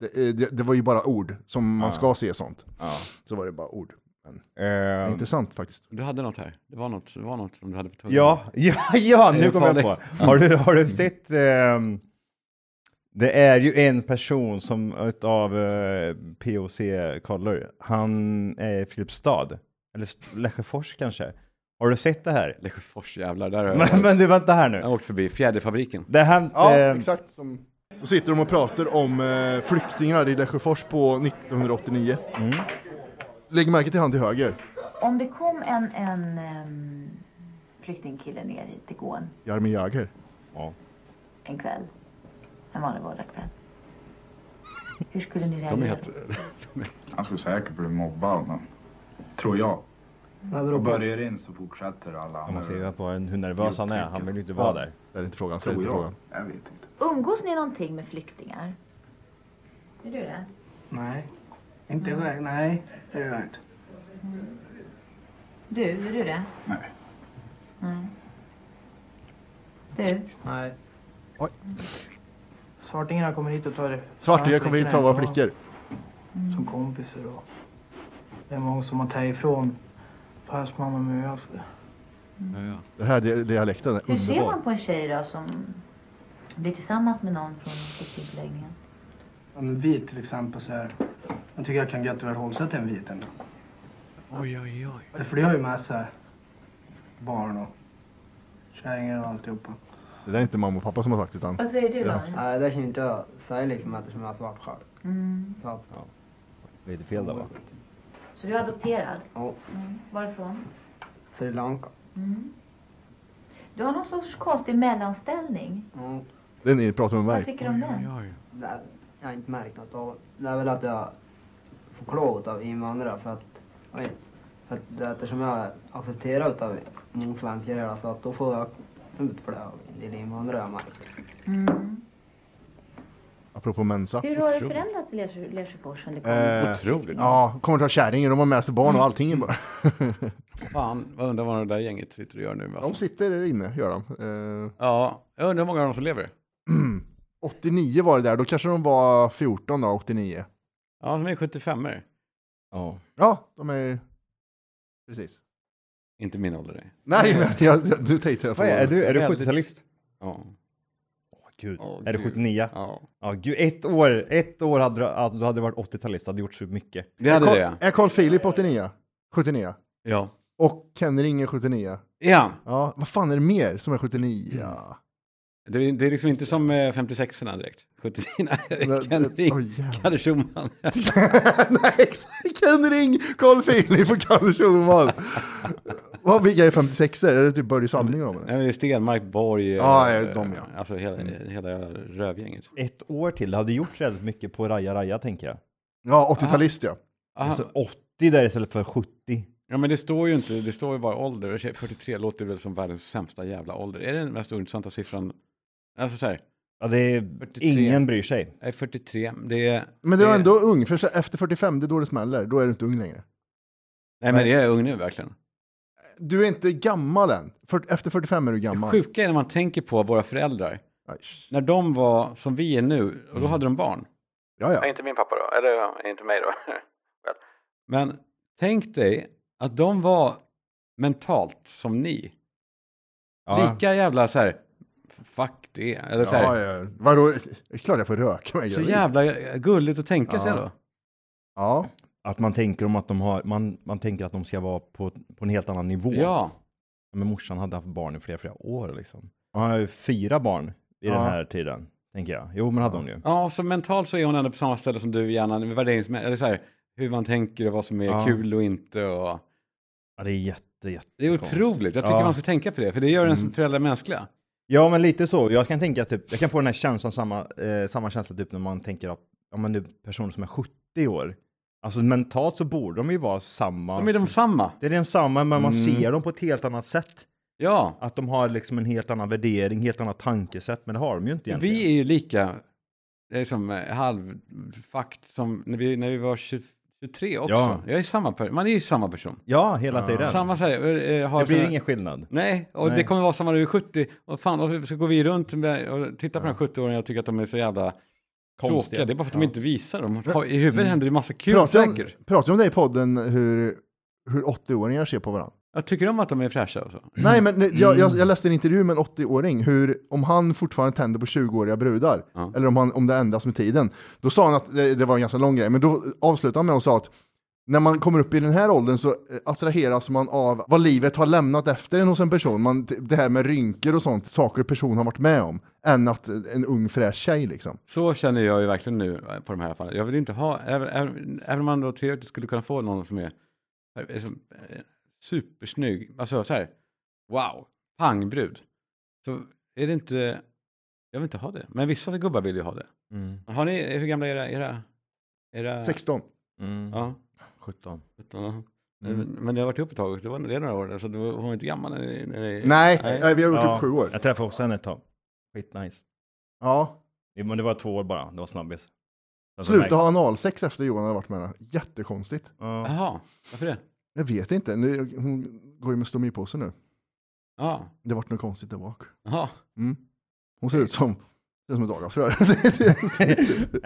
S2: Det, eh, det, det var ju bara ord, som man
S3: Ja.
S2: ska se sånt.
S3: Ja.
S2: Så var det bara ord.
S3: Ehm,
S2: Intressant faktiskt.
S1: Du hade något här. Det var något, det var något som du hade på tungan.
S3: ja, ja, ja,
S1: Det
S3: nu
S1: är
S3: kommer jag på.
S1: farligt.
S3: Har du, har du sett... ehm, det är ju en person som utav eh, POC kollar, han är i Filipstad, eller St- Lesjöfors kanske. Har du sett det här?
S1: Lesjöfors jävlar, där har jag,
S3: Men, men du, vänta här nu.
S1: jag har åkt förbi. Fjäderfabriken.
S3: Det här,
S2: Ja,
S3: ehm,
S2: exakt. Som... Då sitter de och pratar om eh, flyktingar i Lesjöfors på 1989. Lägg märke till han till höger,
S4: Om det kom en, en ehm, flyktingkille ner hit igår
S2: Jaromir Jagr.
S3: ja.
S4: en kväll, en vanlig vardagskväll. Hur skulle ni
S1: De är
S4: reagera?
S1: helt...
S5: Han skulle säkert bli mobbad, men... Tror jag. Och börjar in så fortsätter alla
S3: Ja, Man
S5: andra.
S3: ser ju på hur nervös han är, han vill ju inte vara där.
S2: Det är inte frågan, ställ
S5: Tror
S2: inte
S5: jag.
S2: frågan.
S5: Jag vet inte.
S4: Umgås ni någonting med flyktingar? Gör du det?
S6: Nej, inte iväg. Nej, det gör jag inte.
S4: Du, gör du det?
S5: Nej.
S4: Nej. Du,
S6: Nej.
S2: Oj.
S6: Svartingarna kommer hit och tar
S2: Svartingar kommer hit som våra flickor.
S6: Som kompisar och... Det är många som har tagit ifrån fast mamma med oss.
S2: Det här di- dialekten är
S4: hur ser man
S2: underbar.
S4: på en tjej då som blir tillsammans med någon från flyktingförläggningen?
S6: Ja, men vit till exempel så här. Jag tycker jag kan gött väl hålla sig till en vit ändå.
S1: Oj, oj, oj.
S6: Det för det har ju med sig barn och kärringar och alltihopa.
S2: Det där är inte mamma och pappa som har sagt utan...
S4: Vad säger du
S2: Yes.
S4: Daniel?
S6: Nej, det kan ju inte jag säga liksom eftersom jag är svart själv.
S4: Mm.
S6: Så att... eh,
S3: Lite fel där va?
S4: Så du är adopterad?
S6: Ja.
S4: Mm. Varifrån?
S6: Sri Lanka.
S4: Mm. Du har någon sorts konstig mellanställning.
S6: Ja.
S2: Det är ni pratar med
S4: Vad
S2: mig.
S4: tycker du om den?
S1: oj.
S6: Nej, jag har inte märkt något av det. är väl att jag får klagat av invandrare för att, oj, för att eftersom jag accepterar utav många svenskar här så att då får jag ut för det av en del invandrare jag har märkt.
S4: Mm.
S2: Apropå Mensa.
S4: Hur har det
S1: Otroligt.
S4: förändrats i Lesjö- Lesjöfors sen det kom?
S2: Eh,
S1: Otroligt.
S2: ja, kommer ta kärringen, de har med sig barn och allting bara.
S1: Fan, vad undrar vad det där gänget sitter och gör nu.
S2: De
S1: Alltså.
S2: sitter där inne, gör de. Eh,
S1: Ja, jag undrar hur många av dem som lever.
S2: 89 var det där, då kanske de var 14 då, 89.
S1: Ja, som är 75 er
S3: Ja.
S2: Ja, de är... Precis.
S1: Inte min ålder. nej.
S2: Nej, men jag, jag, du tänkte jag på...
S3: Vad är, är du? Är du
S1: Väldigt-
S3: 70-talist?
S1: Ja.
S3: Åh gud.
S1: Åh,
S3: är du
S1: gud.
S3: 79? Ja.
S1: ja.
S3: gud, ett år, ett år hade du, att du hade varit 80-talist, hade gjort så mycket.
S1: Det hade
S2: Carl-
S1: det, ja.
S2: Är Carl Philip 89? 79?
S1: ja.
S2: Och Ken Ring är 79?
S1: Ja,
S2: Ja, vad fan är det mer som är 79? Ja.
S1: Det, är- det är liksom inte som eh, 56orna direkt. 79orna. Ken Ring,
S2: Åh, jävlar.
S1: Kalle Schumann.
S2: Nej, exakt. Ken Ring, Carl Philip och Kalle Schulman. Vad, vilka är 56 er Är det typ Börje Salming och dem? eller?
S1: Nej, men det är Stenmark, Borg. eh,
S2: Ja, ja, de, ja.
S1: Alltså hela, hela rövgänget.
S3: Ett år till, det hade gjort väldigt mycket på Raja Raja tänker jag.
S2: Ja, 80-talist ja.
S1: Aha.
S3: Så 80 där istället för 70.
S1: Ja, men det står ju inte, det står ju bara ålder. Och 43 låter väl som världens sämsta jävla ålder. Är det den mest ointressanta siffran? Alltså så här,
S3: Ja, det är,
S1: 43.
S3: ingen bryr sig.
S1: nej, 43, det är...
S2: Men du är
S1: det-
S2: ändå ung, för så- efter 45, det är då det smäller. Då är du inte ung längre.
S1: Nej, men det är jag ung nu verkligen.
S2: Du är inte gammal än. För, efter 45 är du gammal.
S1: Sjuka är när man tänker på våra föräldrar.
S2: Aj,
S1: När de var som vi är nu, och då hade de barn.
S2: Ja,
S1: Ja,
S2: ja.
S1: inte min pappa då, eller ja, inte mig då. Själv. Men tänk dig att de var mentalt som ni.
S3: Ja.
S1: Lika jävla så här, fuck det. Eller så, här,
S2: ja, ja. Vadå? Det är klart jag får röka mig.
S1: så
S2: gravid.
S1: jävla gulligt att tänka sig då.
S2: Ja.
S3: Att man tänker om att de har, man, man tänker att de ska vara på, på en helt annan nivå.
S1: Ja,
S3: Men morsan hade haft barn i flera, flera år liksom. Hon har ju fyra barn i den här tiden, tänker jag. Jo, men hade hon ju.
S1: ja och så mentalt så är hon ändå på samma ställe som du i hjärnan. med värderingsmä- Eller så här, hur man tänker och vad som är
S3: Ja.
S1: kul och inte. Och...
S3: Ja, det är jätte, jätte
S1: Det är otroligt. Jag tycker
S3: Ja.
S1: man ska tänka på det, för det gör ens föräldrar mänskliga.
S3: Ja, men lite så. Jag kan tänka typ, jag kan få den här känslan, samma, eh, samma känsla typ när man tänker att, ja men nu personer som är 70 år, alltså mentalt så borde de ju vara samma.
S1: De är de samma.
S3: det är de samma, men
S1: Mm.
S3: man ser dem på ett helt annat sätt.
S1: Ja,
S3: Att de har liksom en helt annan värdering, helt annat tankesätt, men det har de ju inte egentligen.
S1: vi är ju lika det är som eh, halvfakt som när vi, när vi var 20 23 också.
S3: Ja.
S1: Jag är samma per- man är ju samma person.
S3: Ja, hela tiden.
S1: Samma så här, eh, har
S3: Det blir
S1: såna-
S3: ingen skillnad.
S1: Nej, och
S3: Nej.
S1: det kommer vara samma när du är 70. Och fan, och så går vi runt med, och tittar på de här 70-åringarna och tycker att de är så jävla tråkiga. Det är bara för att de inte visar dem. Har- I
S3: Mm.
S1: huvudet händer det massa kul
S2: Pratar om,
S1: saker.
S2: pratar om det i podden hur, hur 80-åringar ser på varandra?
S1: Jag tycker om att de är fräscha och så.
S2: Nej, men nej, jag, jag,
S1: Mm.
S2: jag läste en intervju med en 80-åring, hur om han fortfarande tänder på 20-åriga brudar,
S1: Ja.
S2: eller om, han, om det ändras med tiden, då sa han att, det, det var en ganska lång grej, men då avslutade han med att säga att när man kommer upp i den här åldern så eh, attraheras man av vad livet har lämnat efter en hos en person. Man, det här med rynkor och sånt, saker person har varit med om, än att en ung fräsch tjej liksom.
S1: Så känner jag ju verkligen nu eh, på de här fallen. Jag vill inte ha, även, även, även om man då teoretiskt skulle kunna få någon som är, är som, eh, supersnygg, alltså så här, wow, pangbrud. Så är det inte, jag vill inte ha det. Men vissa gubbar vill ju ha det.
S3: Mm.
S1: Har ni, eh, hur gamla är era, era, era
S2: 16.
S3: Mm.
S1: Ja,
S3: 17.
S1: 17. ja. Men det har varit ihop ett tag, så det var det är några år, så det var, hon var inte gammal när ni- när ni-
S2: Nej,
S1: Nej.
S2: eh, vi har gjort
S3: Ja,
S2: upp sju år.
S3: Jag träffade också henne ett tag. Skitnice.
S2: Ja.
S3: Jo, Men det var två år bara, det var snabbis. Alltså,
S2: Sluta
S3: märk-
S2: ha analsex efter Johan har varit med henne. Jättekonstigt.
S3: Ja.
S1: Jaha, varför det?
S2: Jag vet inte, nu, hon går ju med stomipåse nu.
S1: Ja,
S2: Det vart något konstigt där bak.
S1: jaha.
S2: Hon ser ut som, ser ut som ett avgasrör.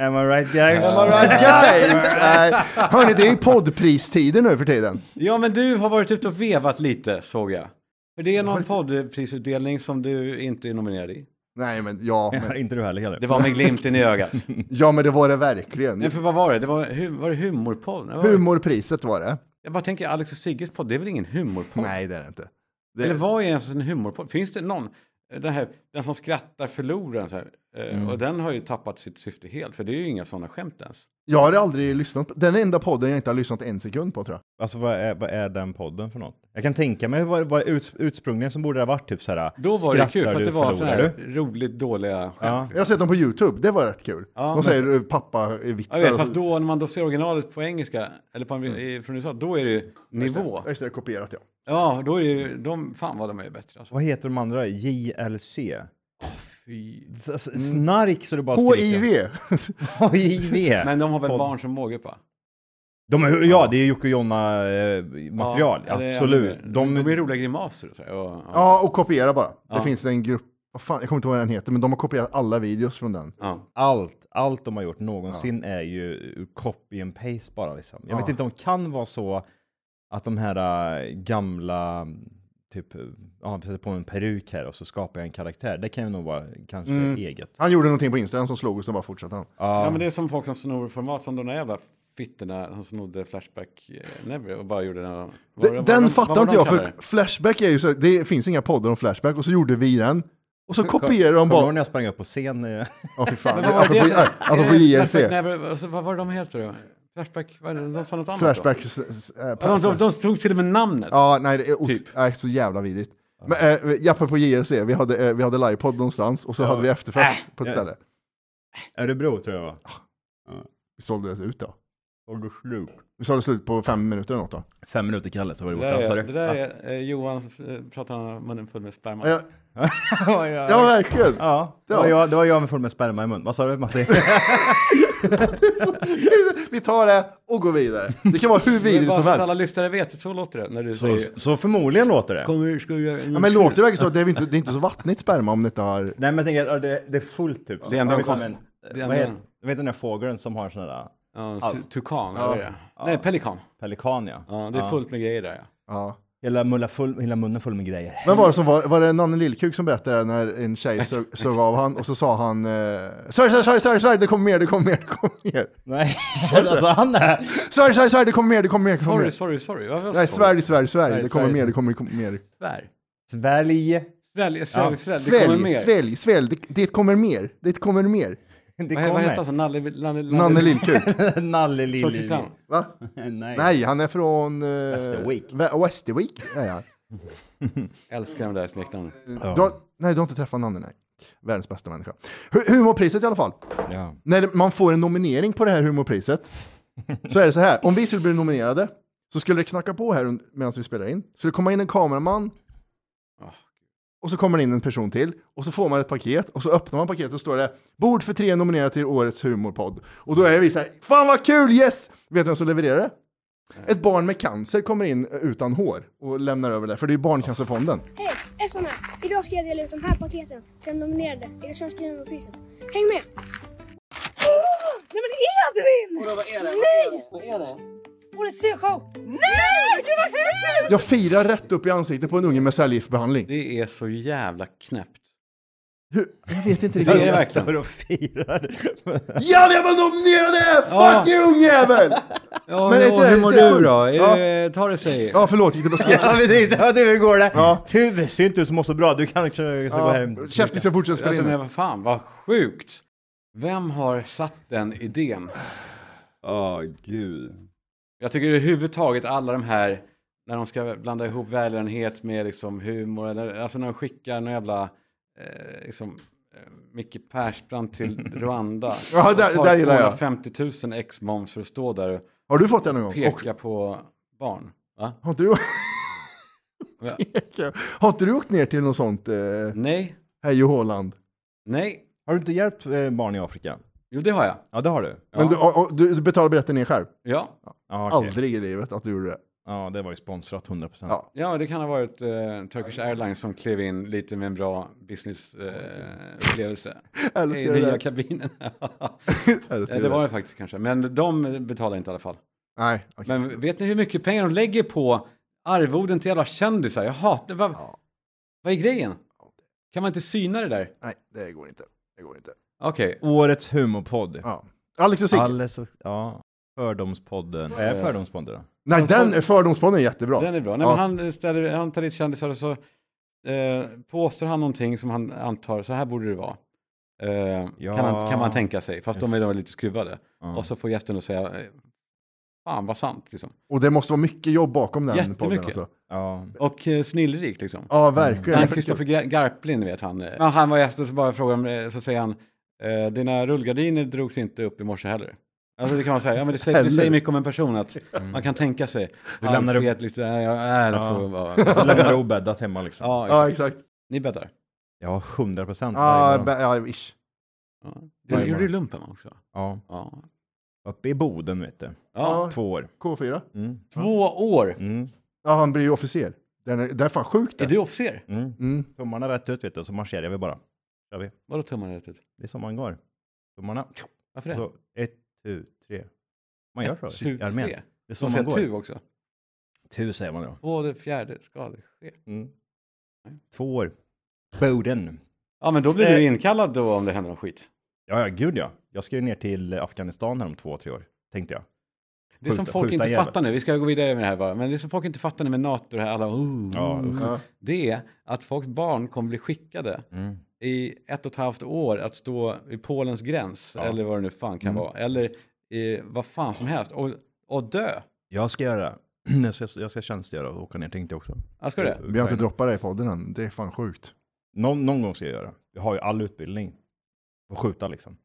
S3: Am I right guys?
S2: Am I right guys? Nej. Hörni, det är ju poddpristider nu för tiden.
S1: Ja, men du har varit ute och vevat lite, såg jag. För det är någon poddprisutdelning som du inte är nominerad i.
S2: Nej men ja, men,
S3: Inte du heller Kalle.
S1: Det var med glimten i ögat.
S2: ja, men det var det verkligen.
S1: Nej, för vad var det? Det var, hu- var det humorpodd? Det var-
S2: Humorpriset var det.
S1: Jag bara tänker, Alex och Sigges podd, det är väl ingen humorpodd?
S2: Nej, det är det inte.
S1: Eller vad är ens en humorpodd? Finns det någon? Den, här, den som skrattar förlorar. den Så här. Eh, Och den har ju tappat sitt syfte helt, för det är ju inga sådana skämt ens.
S2: Jag har aldrig lyssnat på, den enda podden jag inte har lyssnat en sekund på tror jag.
S3: Alltså vad är, vad är den podden för något? Jag kan tänka mig vad, vad uts, utsprungligen som borde det ha varit typ så här.
S1: Då var det
S3: skrattar
S1: kul, för att
S3: du,
S1: det var sådana
S3: förlorar
S1: här roligt dåliga skämt.
S2: Jag har sett dem på YouTube, det var rätt kul.
S1: Ja,
S2: De
S1: men-
S2: säger eh,
S1: Jag
S2: pappa-vitsar.
S1: vet,
S2: och så-
S1: fast då när man då ser originalet på engelska, eller på, i- från USA, då är det ju nivå.
S2: Just det, kopierat ja.
S1: Ja, då är det ju, de, fan vad de är bättre alltså.
S3: Vad heter de andra? JLC?
S1: Fy. Mm.
S3: S- s- Snark så det bara skriker.
S2: HIV!
S3: HIV!
S1: Men de har väl
S3: Podd.
S1: barn som måge på?
S3: De är, ja, det är Jocke och Jonna eh, material,
S1: Ja, eller-
S3: absolut.
S1: De, de är roliga grimaser och så. här, Och, ja.
S2: Ja, och kopiera bara. Det finns en grupp, vad fan, jag kommer inte ihåg vad den heter, men de har kopierat alla videos från den.
S1: Ja.
S3: allt, allt de har gjort någonsin är ju copy and paste bara liksom. Jag vet inte om det kan vara så att de här äh, gamla, mm, typ, äh, ja, jag sätter på mig en peruk här och så skapar jag en karaktär. Det kan ju nog vara kanske
S1: Mm.
S3: eget.
S2: Han gjorde någonting på Instagram som slog och sen bara fortsatte han.
S1: ja, men det är som folk som snor format, som de där jävla fittorna som snodde Flashback eh, Never och bara gjorde den. vad- vad-
S2: Den
S1: vad- vad
S2: fattar
S1: var
S2: inte
S1: de
S2: jag,
S1: kallade
S2: för Flashback är ju så, det finns inga poddar om Flashback och så gjorde vi den. Och så kopierar de
S3: Kommer du ihåg
S2: bara...
S3: när jag sprang upp på scen? eh,
S2: Ja, fy fan.
S1: Men vad var det
S2: Apropå,
S1: som-
S2: apropå
S1: är det
S2: JLC.
S1: Flashback Never- alltså, Vad var det de heter då? Flashback, vad är det? de sa något annat då?
S2: Flashback... s- s- eh,
S1: Ja, De, de, de tog till och med namnet.
S2: Ja, nej, det är ot-
S1: Typ.
S2: nej, så jävla vidrigt. Men äh, Jappe på JRC, vi hade, eh, vi hade livepodd någonstans och så hade vi efterfest
S1: Äh.
S2: på ett
S3: Ja.
S2: ställe.
S3: Örebro tror jag det var.
S2: Vi såldes ut då.
S3: Orgoslup.
S2: Vi sålde slut på fem minuter eller något då.
S3: Fem minuter Kalle så var det
S1: Det
S3: borta.
S1: där
S3: sa
S1: är,
S3: du?
S1: det där är eh, Johan, eh, pratar han om munnen full med sperma.
S2: Ja,
S3: Ja,
S2: ja
S3: ja,
S2: verkligen.
S3: ja. Det, var jag, det var jag med full med sperma i mun. Vad sa du Matti?
S2: Vi tar det och går vidare. Det kan vara hur
S1: Men
S2: vidrigt
S1: bara
S2: som
S1: så att
S2: helst.
S1: alla lyssnare vet, så låter det när du
S3: så,
S1: säger...
S3: så förmodligen låter det.
S1: Kommer, ska jag...
S2: Ja, men låter det verkligen så? Det är, väl inte, det är inte så vattnigt sperma om det inte har...
S3: Nej men jag tänker, ja, det, det är fullt typ.
S1: Det är ändå
S3: Ja,
S1: en
S3: liksom
S1: konst- det är
S3: vad
S1: ändå-
S3: heter, vet den där fågeln som har sån där äh,
S1: Ja, tu- tukan, eller det?
S2: Ja.
S1: Nej, pelikan.
S3: pelikan ja.
S1: Ja, det är fullt med grejer där ja.
S2: Ja.
S3: Hela, mulla full, hela munnen full med grejer.
S2: Men var det som var, var det Nanne Lillkuk som berättade när en tjej sög, sög av han och så sa han eh, Sverige, Sverige, Sverige, Sverige, Sverige, det kommer mer, det kommer mer, det kommer mer.
S3: Nej, alltså han är...
S2: Sverige, Sverige, Sverige, det kommer mer, det kommer mer, det kommer
S1: Sorry,
S2: mer.
S1: sorry, sorry. Vad var
S2: Nej,
S1: sorry?
S2: Sverige, Sverige, Sverige,
S1: Nej,
S2: det kommer
S1: Sverige.
S2: mer, det kommer, det kommer mer.
S1: Svär.
S3: Svälj.
S1: Svälj, svälj, svälj. Det kommer
S2: Svälj,
S1: mer.
S2: svälj, svälj, det, det kommer mer, det kommer mer.
S1: Vad,
S3: Det
S1: vad heter
S3: kommer.
S1: han? Nalle... Nalle...
S2: Nanne Lillkuk,
S1: Från
S3: Nalle Lilli.
S1: Kristianstad.
S2: va?
S3: Nej.
S2: Nej, han är från... eh,
S3: Västervik.
S2: Vä- Västervik, är han.
S1: Älskar de där smeknamnen.
S2: Du har, nej, du har inte träffat Nanne, nej. Världens bästa människa. Hu- Humorpriset i alla fall.
S3: Ja.
S2: När man får en nominering på det här humorpriset, så är det så här. Om vi skulle bli nominerade, så skulle det knacka på här medan vi spelar in. Så det kommer in en kameraman, och så kommer det in en person till, och så får man ett paket, och så öppnar man paketet och står det Bord för tre nominerade till årets humorpodd. Och då är vi så här, fan vad kul, yes! Vet du vem som levererar det? Ett barn med cancer kommer in eh, utan hår och lämnar över det, för det är ju Barncancerfonden.
S7: Hej, SN här. Idag ska jag dela ut de här paketen till de nominerade i det svenska humorpriset. Häng med! Nej men Edvin! vad är det? Nej! Vad är det? Årets C-show! Nej! Gud vad kul!
S2: Jag firar rätt upp i ansiktet på en unge med cellgiftsbehandling.
S1: Det är så jävla knäppt.
S2: Hur? Jag vet
S1: Det
S2: inte riktigt.
S1: är
S3: Jag
S1: verkligen...
S3: står och firar.
S2: Ja, vi var nominerade! Fuck you, ungjävel!
S1: Ja,
S2: Men
S1: men
S2: är inte det-
S1: hur mår
S2: det-
S1: du då?
S2: Ja.
S1: Är det, tar det sig?
S2: Ja, förlåt, gick det på skräck?
S3: Ja precis, ja, du hur går det?
S2: Ja.
S3: Du, det ser inte ut som mår så bra, du kanske ska gå hem.
S2: Käften ska fortsätta spela
S1: Alltså,
S2: in.
S1: men
S2: det.
S1: vad fan, vad sjukt. Vem har satt den idén?
S3: Åh gud.
S1: Jag tycker överhuvudtaget alla de här, när de ska blanda ihop välgörenhet med liksom humor, eller, alltså när de skickar någon jävla, eh, liksom, eh, Micke Persbrandt till Rwanda.
S2: Ja,
S1: och
S2: där-
S1: tar
S2: där gillar jag.
S1: 250 000 ex-moms för att stå där och
S2: Har du fått det någon gång? Och,
S1: peka på barn. Va?
S2: har, inte du,
S1: Ja.
S2: har inte du åkt ner till något sånt eh,
S1: Nej,
S2: hej och håland?
S1: nej.
S3: Har du inte hjälpt eh, barn i Afrika?
S1: Jo, det har jag.
S3: Ja det har du.
S1: Ja.
S2: Men du, och, och, du, du betalar biljetten ner själv?
S1: Ja,
S3: Ja, okej.
S2: Aldrig i livet att du gjorde det.
S3: ja det var ju sponsrat 100%.
S2: Ja.
S1: Ja, det kan ha varit eh, Turkish Airlines som klev in lite med en bra businessupplevelse.
S2: Eller
S1: I
S2: ska det
S1: nya
S2: där.
S1: kabinen. Ja,
S2: Eller ska
S1: det var det faktiskt kanske, men de betalar inte i alla fall.
S2: Nej, okej.
S1: Men vet ni hur mycket pengar de lägger på arvoden till jävla kändisar? Jag hatar, vad,
S2: Ja.
S1: vad är grejen? Kan man inte syna det där?
S2: Nej, det går inte. Det går inte.
S1: Okej,
S3: Årets humorpodd.
S2: Ja. Alex och Sigge.
S3: Alles och, ja. Fördomspodden. Är Fördomspodden då?
S2: Nej, den fördomspodden är jättebra.
S1: den är bra. Nej,
S2: Ja.
S1: men han, ställer, han tar dit kändisar och så eh, påstår han någonting som han antar, så här borde det vara. Eh,
S3: Ja.
S1: kan, han, kan man tänka sig, fast de är då lite skruvade. Och så får gästen att säga, eh, fan vad sant liksom.
S2: Och det måste vara mycket jobb bakom den podden
S1: Jättemycket.
S2: alltså.
S3: Ja.
S1: Och eh, snillrik liksom.
S2: Ja, verkligen.
S1: Han Kristoffer Gra- Garplind vet han. eh, Men han var gäst och så bara frågade, om, eh, så säger han, eh, dina rullgardiner drogs inte upp i morse heller. Alltså det kan man säga, ja men det säger, det
S2: Heller.
S1: säger mycket om en person att man kan tänka sig. Mm. Du
S3: lämnar upp-
S1: lite, äh, ja, äh, det
S3: Ja.
S1: får vara.
S3: Du lämnar obäddat hemma liksom.
S1: Ja,
S2: Ja,
S1: exakt. Mm.
S2: exakt.
S1: Ni bäddar.
S3: Ja, 100% varje
S2: Ja,
S3: morgon.
S2: be- ja, ish.
S1: Ja.
S3: Ja,
S1: Du
S3: det
S1: gjorde
S3: var-
S1: ju lumpen också.
S3: Ja.
S1: Ja.
S3: Uppe i Boden vet du.
S1: Ja.
S2: Ja.
S3: Två år.
S2: K4.
S3: Mm.
S1: Två år!
S3: Mm.
S2: Ja, han blir ju officer. Den är, det är fan sjukt
S1: Är
S2: det.
S1: du officer?
S3: Mm.
S2: Mm.
S3: Tummarna rätt ut vet du, så marscherar vi bara. Kör vi.
S1: Vadå tummarna rätt ut?
S3: Det är så man går. Tummarna.
S1: Varför det?
S3: Så, ett, tu, tre. Man gör så.
S1: Tut,
S3: i armén.
S1: tre.
S3: Det är så
S1: De
S3: man
S1: säger tu
S3: går.
S1: också.
S3: Tu säger man då.
S1: Både fjärde skadechef.
S3: Mm. Två år. Boden.
S1: Ja, men då blir
S3: Eh.
S1: du inkallad då om det händer någon skit.
S3: Ja, ja, gud ja. Jag ska ju ner till Afghanistan här om två, tre år. Tänkte jag.
S1: Det är som
S3: Skjuta-
S1: folk
S3: skjuta
S1: inte
S3: jävel.
S1: fattar nu, vi ska gå vidare med det här bara, men det är som folk inte fattar nu med NATO och det här, alla oh,
S3: Ja, usch.
S2: Ja.
S3: Mm.
S1: det är att folks barn kommer bli skickade i ett och ett halvt år att stå vid Polens gräns, eller vad det nu fan
S3: Mm.
S1: kan vara, eller eh, vad fan som helst, och, och dö.
S3: Jag ska göra jag ska, jag ska tjänstgöra och åka ner tänkte jag också.
S1: Ja, ska du
S3: Mm.
S1: det?
S2: Vi har inte droppat det i podden än. Det är fan sjukt.
S3: Någon, någon gång ska jag göra. Jag har ju all utbildning. Och skjuta liksom.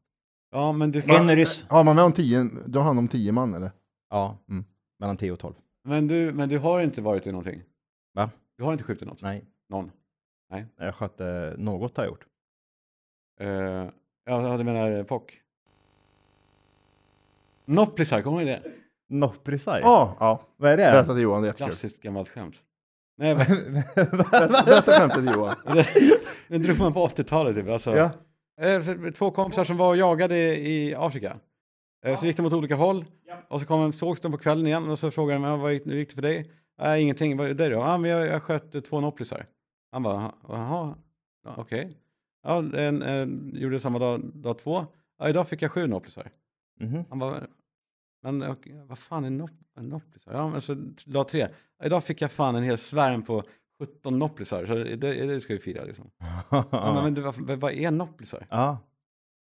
S1: Ja, men du,
S8: En ryss.
S2: Ja, man har om tio, du har hand om tio man eller?
S3: Ja,
S2: Mm.
S3: mellan 10 och 12.
S1: men du, men du har inte varit i någonting?
S3: Va?
S1: Du har inte skjutit något?
S3: Nej,
S1: Någon?
S3: jag sköt eh, något har jag gjort.
S1: Uh, ja, du menar eh, Fock? Noppisar, kommer du ihåg det?
S3: Nopprisaj?
S2: Ja, ja.
S3: Vad är det?
S2: Berätta till Johan, det är jättekul.
S1: Klassiskt gammalt skämt. Nej, men
S2: Berätta, berätta skämtet Johan.
S1: det, det drog man på 80-talet typ. Alltså.
S2: Ja.
S1: Eh, så Två kompisar som var och jagade i Afrika. Eh, Så gick de åt olika håll och så kom, sågs de på kvällen igen och så frågade de "Ja, vad gick, hur gick det för dig? Äh, ingenting, vad gjorde du då? Ah, men jag, jag sköt eh, två noppisar. Han bara, "Jaha, jaha, ja, okej. Ja, en, en, gjorde samma dag, dag två. Ja, idag fick jag sju noppisar.
S3: Mhm.
S1: Han bara, men okej, vad fan är nopp- noppisar? Ja, men så dag tre. Idag fick jag fan en hel svärm på 17 noppisar, så det, det ska vi fira liksom. Ja. Men, men du, vad, vad är noppisar?
S3: Ja.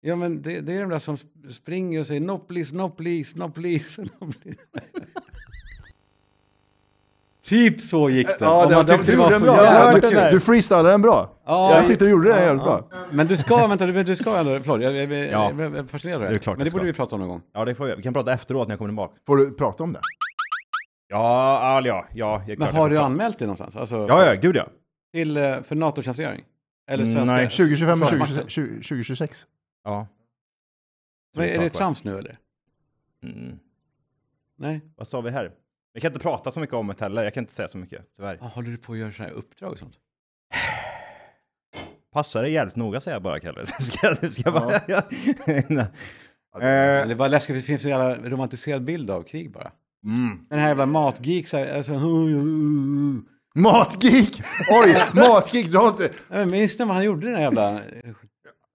S1: Ja, men det, det är de där som sp- springer och säger nopplis, nopplis, nopplis, nopplis. typ så gick det.
S2: Ja,
S1: Om
S2: det,
S1: man
S2: det,
S1: tyckte
S2: du gjorde den
S1: så
S2: bra.
S1: jävla-
S2: Ja,
S3: hört den
S2: du,
S3: där.
S2: du freestylade den bra.
S1: Ja,
S2: jag tyckte du gjorde det jävligt bra.
S1: Men du ska, vänta, du, du ska ändå, förlåt, jag, jag, jag,
S3: Ja.
S1: jag, jag fascinerar
S3: Det är klart
S1: Men det
S3: jag
S1: borde
S3: ska.
S1: vi prata om någon gång.
S3: ja, det får jag. Vi kan prata efteråt när jag kommer tillbaka.
S2: Får du prata om det?
S3: Ja, all ja, ja. Jag är
S1: Men
S3: klart
S1: har
S3: jag
S1: du
S3: får-
S1: anmält dig någonstans? Alltså,
S3: Ja, ja, gud ja.
S1: Till, eh, för NATO-tjänstgöring? Eller
S3: Mm,
S1: svenska?
S3: nej,
S2: 2025 och
S1: Försvarsmakten.
S2: 2026? 2026.
S3: Ja.
S1: Men är det
S3: Såklart, va?
S1: trams nu eller?
S3: Mm.
S1: Nej?
S3: Vad sa vi här? Jag kan inte prata så mycket om det heller. Jag kan inte säga så mycket, tyvärr.
S1: Ah, håller du på att göra sådana här uppdrag och sånt?
S3: Passa dig jävligt noga säger jag bara, Kalle. Ska, jag- ska jag bara... Eh,
S1: Men Det var läskigt, för det finns en jävla romantiserad bild av krig bara.
S3: mm.
S1: Den här jävla matgeek så här, alltså,
S2: Matgeek! Oj, matgeek, du har inte...
S1: Nej, men Minns ni vad han gjorde den här jävla...